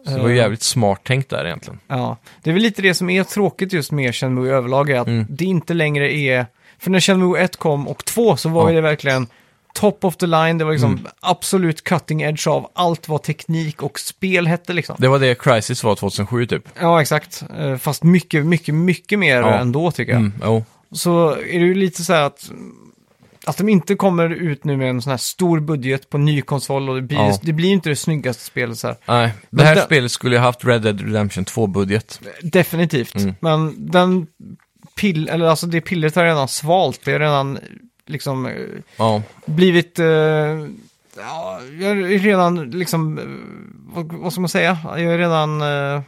S2: Så det var ju jävligt smart tänkt där egentligen.
S1: Ja, det är väl lite det som är tråkigt just med Shenmue överlag är att
S2: Mm.
S1: det inte längre är... För när Shenmue 1 kom och 2 så var
S2: Ja. Mm.
S1: ju det verkligen top of the line, det var liksom absolut cutting edge av allt vad teknik och spel hette liksom.
S2: Det var det Crisis var 2007 typ.
S1: Ja, exakt. Eh, Fast mycket, mycket, mycket mer
S2: Ja.
S1: ändå tycker jag.
S2: Mm, jo.
S1: Så är det ju lite så här att... Att de inte kommer ut nu med en sån här stor budget på en ny konsol och det blir,
S2: Ja.
S1: det blir inte det snyggaste spelet så här.
S2: Nej, det
S1: Men
S2: här
S1: den-
S2: spelet skulle ju haft Red Dead Redemption 2-budget.
S1: Definitivt.
S2: Mm.
S1: Men den pill, eller alltså det pillret har redan svalt. Det har redan liksom eh,
S2: Ja,
S1: blivit... Eh, ja, jag är redan liksom... eh, Vad, vad ska man säga? Jag är redan... Eh,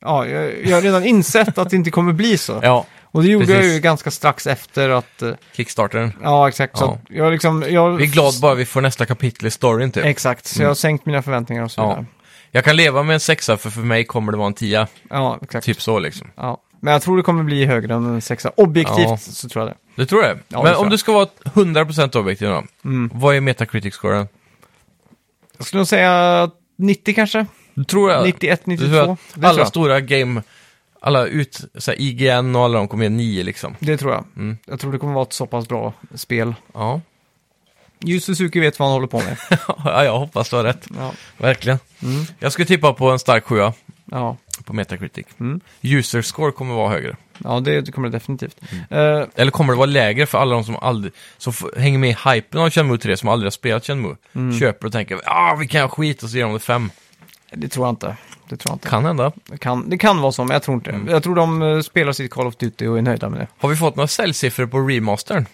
S1: ja, jag, jag har redan insett att det inte kommer bli så.
S2: ja.
S1: Och det gjorde jag
S2: precis.
S1: ju ganska strax efter att... eh,
S2: Kickstartern.
S1: Ja, exakt. Så
S2: Ja.
S1: att jag liksom... Jag,
S2: Vi är glad bara vi får nästa kapitel i storyn typ.
S1: Exakt, så jag har sänkt mina förväntningar och så
S2: Ja.
S1: vidare.
S2: Jag kan leva med en sexa för för mig kommer det vara en tia.
S1: Ja, exakt.
S2: Typ så liksom.
S1: Ja. Men jag tror det kommer bli högre än en sexa. Objektivt
S2: Ja.
S1: så tror jag det.
S2: Det tror jag.
S1: Ja, det
S2: Men
S1: tror
S2: om
S1: jag.
S2: du ska vara 100% objektiv då. Vad är Metacritic-scoren?
S1: Mm. Jag skulle nog säga 90 kanske.
S2: Du tror jag...
S1: 91,
S2: Du tror
S1: 92.
S2: att
S1: Det tror
S2: alla
S1: jag.
S2: stora game, alla ut, så här, IGN och alla de kommer ge nio liksom.
S1: Det tror jag.
S2: Mm.
S1: Jag tror det kommer vara ett så pass bra spel.
S2: Ja,
S1: Yu Suzuki vet vad han håller på
S2: <laughs>
S1: med.
S2: ja jag hoppas du har rätt.
S1: ja.
S2: Verkligen.
S1: Mm.
S2: Jag skulle tippa på en stark sjua
S1: Ja.
S2: på Metacritic.
S1: Mm.
S2: User score kommer vara högre.
S1: ja, det kommer det definitivt.
S2: Mm.
S1: Eh,
S2: Eller kommer det vara lägre för alla de som aldrig, som f- hänger med i hypen av Chenmu 3, som aldrig har spelat Chenmu.
S1: Mm.
S2: Köper och tänker ah, vi kan ha skit och så ger de det fem.
S1: det tror jag inte. Det tror jag inte.
S2: Kan hända.
S1: Det kan, det kan vara så, men jag tror
S2: Mm.
S1: inte det. Jag tror de eh, spelar sitt Call of Duty och är nöjda med det.
S2: Har vi fått några säljsiffror på remastern?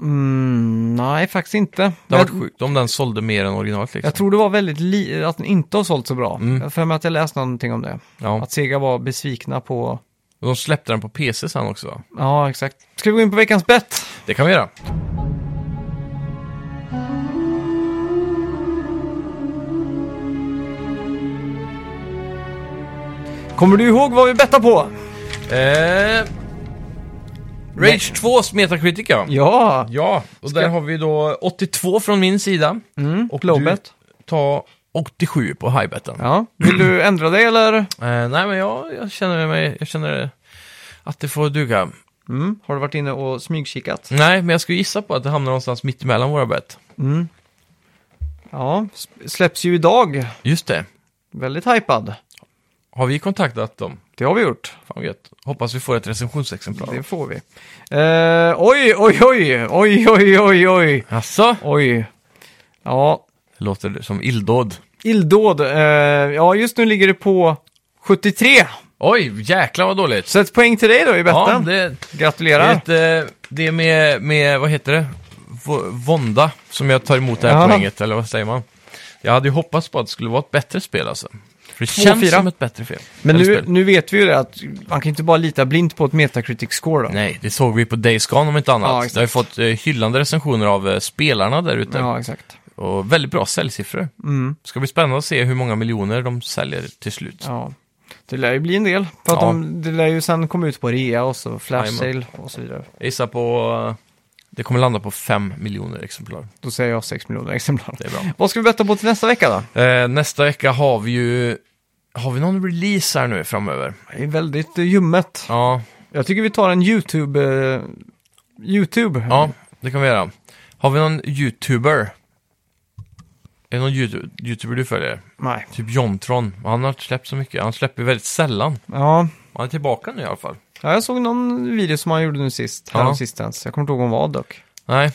S1: Mm, nej, faktiskt inte.
S2: Det
S1: Jag,
S2: har varit sjukt om den sålde mer än originalet liksom.
S1: jag tror det var väldigt li- att den inte har sålt så bra.
S2: Mm.
S1: Jag har för mig att jag läste någonting om det.
S2: Ja.
S1: Att Sega var besvikna på...
S2: Och de släppte den på PC sen också va?
S1: Ja, exakt. Ska vi gå in på veckans bett?
S2: Det kan vi göra.
S1: Kommer du ihåg vad vi bettade på?
S2: Eh, Rage 2s Metacritic ja.
S1: Ja,
S2: Ja, och
S1: Ska-
S2: där har vi då 82 från min sida.
S1: mm,
S2: Och
S1: low
S2: du-
S1: bet.
S2: Ta 87 på highbeten.
S1: Ja. Vill du ändra dig eller
S2: Eh, nej, men jag, jag känner mig... Jag känner att det får duga.
S1: mm. har du varit inne och smygkikat?
S2: Nej, men jag skulle gissa på att det hamnar någonstans mitt emellan våra bet.
S1: Mm. Ja, s- släpps ju idag.
S2: Just det.
S1: Väldigt hypad.
S2: Har vi kontaktat dem?
S1: Det har vi gjort.
S2: Fan vad gött. Hoppas vi får ett recensionsexemplar.
S1: Det får vi. Eh, oj, oj, oj, oj, oj, oj, oj,
S2: Alltså,
S1: oj. Ja,
S2: låter det som illdåd.
S1: illdåd. Eh, ja, just nu ligger det på 73.
S2: Oj, jäklar vad dåligt.
S1: Så ett poäng till dig då i
S2: Ja,
S1: betten.
S2: det, det,
S1: Gratulerar.
S2: är ett, eh, det är med, med, vad heter det? V- Vånda som jag tar emot det här
S1: Ja.
S2: poänget, eller vad säger man? Jag hade ju hoppats på att det skulle vara ett bättre spel alltså. För det känns
S1: fyra.
S2: som ett bättre fel.
S1: Men
S2: eller
S1: nu,
S2: spel.
S1: nu vet vi ju det att man kan inte bara lita blint på ett Metacritic score då.
S2: Nej, det såg vi på Days Gone om inte annat.
S1: Ja, exakt.
S2: det har ju fått eh, hyllande recensioner av eh, spelarna där ute.
S1: Ja, exakt.
S2: Och väldigt bra säljsiffror.
S1: Mm.
S2: Det ska bli spännande att se hur många miljoner de säljer till slut.
S1: Ja. Det lär ju bli en del. För att
S2: Ja.
S1: de, det lär ju sen komma ut på rea och så flash
S2: Jajamän.
S1: sale och så vidare.
S2: Jag gissar på... eh, Det kommer landa på 5 miljoner exemplar.
S1: Då säger jag 6 miljoner exemplar.
S2: Det är bra.
S1: Vad ska vi betta på till nästa vecka då?
S2: Eh, nästa vecka har vi ju... Har vi någon release här nu framöver?
S1: Det är väldigt eh, ljummet.
S2: Ja,
S1: Jag tycker vi tar en YouTube... Eh, YouTube?
S2: ja det kan vi göra. Har vi någon YouTuber? Är det någon YouTube, YouTuber du följer?
S1: Nej.
S2: Typ Jontron. Han har inte släppt så mycket. Han släpper väldigt sällan.
S1: Ja.
S2: Han är tillbaka nu i alla fall.
S1: ja, jag såg någon video som han gjorde nu sist.
S2: Ja.
S1: Ja. sistens. Jag kommer inte ihåg om vad dock.
S2: Nej,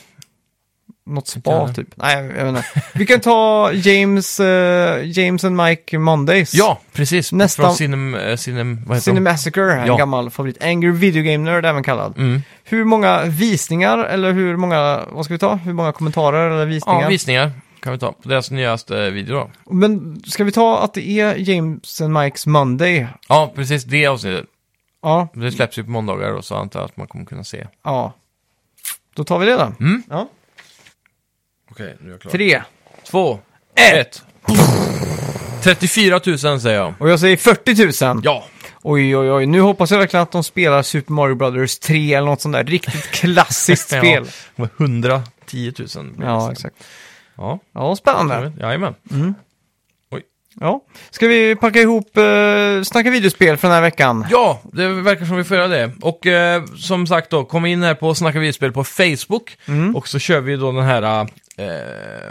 S1: Något
S2: Inte
S1: spa
S2: jag.
S1: typ. Nej, jag vet inte. Vi kan ta James, eh, James and Mike Mondays.
S2: ja, precis.
S1: Nästa-
S2: Från Cinem... eh, Cinem vad heter de?
S1: Cinemassacre, en
S2: Ja.
S1: gammal favorit. Angry Video Game Nerd även kallad.
S2: Mm.
S1: Hur många visningar, eller hur många, vad ska vi ta? Hur många kommentarer eller visningar?
S2: Ja, visningar kan vi ta. På deras nyaste video då.
S1: Men ska vi ta att det är James and Mikes Monday?
S2: Ja, precis. Det avsnittet.
S1: Ja,
S2: Det släpps ju på måndagar då, så jag antar att man kommer kunna se.
S1: ja. Då tar vi det då.
S2: Mm.
S1: Ja.
S2: Okej, nu är jag klar.
S1: Tre,
S2: två,
S1: ett.
S2: ett. 34 000 säger jag.
S1: Och jag säger 40 000.
S2: Ja,
S1: Oj, oj, oj. Nu hoppas jag verkligen att de spelar Super Mario Brothers 3 eller något sånt där riktigt
S2: <laughs>
S1: klassiskt spel.
S2: Ja, 110 000. blir det
S1: Ja,
S2: sen.
S1: exakt.
S2: Ja,
S1: Ja, spännande.
S2: jajamän. jajamän.
S1: Ja. Ska vi packa ihop eh, Snacka videospel för den här veckan?
S2: Ja, det verkar som vi får göra det. Och eh, som sagt då, kom in här på Snacka videospel på Facebook.
S1: Mm.
S2: Och så kör vi då den här, eh,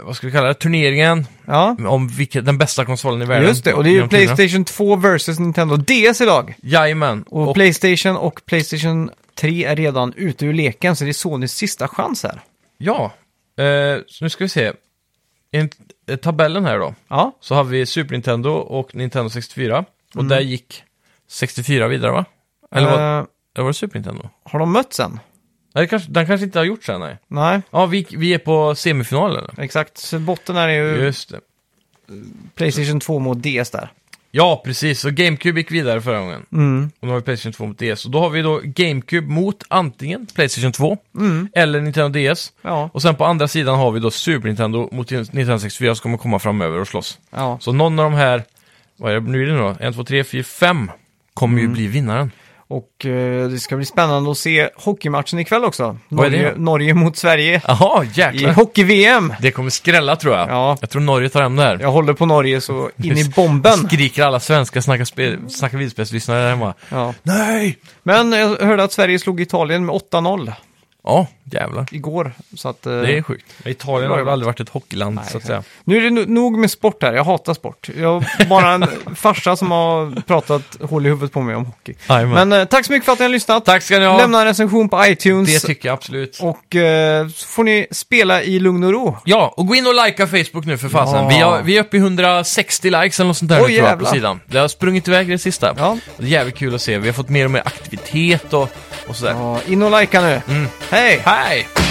S2: vad ska vi kalla det, turneringen.
S1: Ja.
S2: Om vilket, den bästa konsolen i världen.
S1: Just det, och det är ju
S2: genom tiderna.
S1: Playstation 2 versus Nintendo DS idag.
S2: Jajamän.
S1: Och,
S2: Och,
S1: Playstation och Playstation 3 är redan ute ur leken, så det är Sonys sista chans här.
S2: ja, eh, så nu ska vi se. En, eh, tabellen här då.
S1: Ja,
S2: Så har vi Super Nintendo och Nintendo 64. Och där gick 64 vidare va? Eller var,
S1: Mm. eh,
S2: eller var det Super Nintendo?
S1: har de mötts än?
S2: Nej, det kanske, den kanske inte har gjort sen, nej.
S1: Nej,
S2: Ja, vi, vi är på semifinalen. eller?
S1: exakt. Så botten här är ju
S2: Just det.
S1: Playstation 2 mot DS där.
S2: Ja, precis. Så GameCube gick vidare förra gången.
S1: Mm.
S2: Och nu har vi Playstation 2 mot DS. Och då har vi då GameCube mot antingen Playstation 2 eller Nintendo DS.
S1: Mm. Ja,
S2: Och sen på andra sidan har vi då Super Nintendo mot Nintendo 64 som kommer komma framöver och slåss.
S1: ja.
S2: Så någon av de här, vad är det nu är det nu då? 1, 2, 3, 4, 5 kommer
S1: Mm.
S2: ju bli vinnaren.
S1: Och eh, det ska bli spännande att se hockeymatchen ikväll också.
S2: Vad är det?
S1: Norge, Norge mot Sverige
S2: Jaha,
S1: i
S2: jäklar.
S1: hockey-VM.
S2: Det kommer skrälla tror jag.
S1: Ja.
S2: Jag tror Norge tar hem det här.
S1: Jag håller på Norge så in i bomben.
S2: Skriker alla svenska snacka, spe- snacka vidspelslyssnare där hemma.
S1: Ja.
S2: Nej!
S1: Men jag hörde att Sverige slog Italien med 8-0
S2: Ja, jävlar.
S1: igår. Så att, eh,
S2: Det är sjukt. Italien har väl aldrig varit ett hockeyland så att säga.
S1: Nu är det no- nog med sport här, jag hatar sport. Jag har bara en farsa som har pratat hål i huvudet på mig om hockey.
S2: Jajamän.
S1: Men eh, tack så mycket för att ni har lyssnat.
S2: Tack ska ni ha.
S1: Lämna en recension på
S2: Det
S1: iTunes.
S2: tycker jag absolut.
S1: och eh, så får ni spela i lugn och ro.
S2: Ja, och gå in och likea Facebook nu för fasen.
S1: Ja.
S2: Vi, har, vi är uppe i 160 likes eller något sånt där
S1: Oj,
S2: nu, tror jag, på
S1: jävlar.
S2: sidan. Det har sprungit iväg det sista.
S1: Ja.
S2: Det är jävligt kul att se. Vi har fått mer och mer aktivitet och, och sådär. Mm.
S1: Ja, in och likea nu. Hej!
S2: Hej!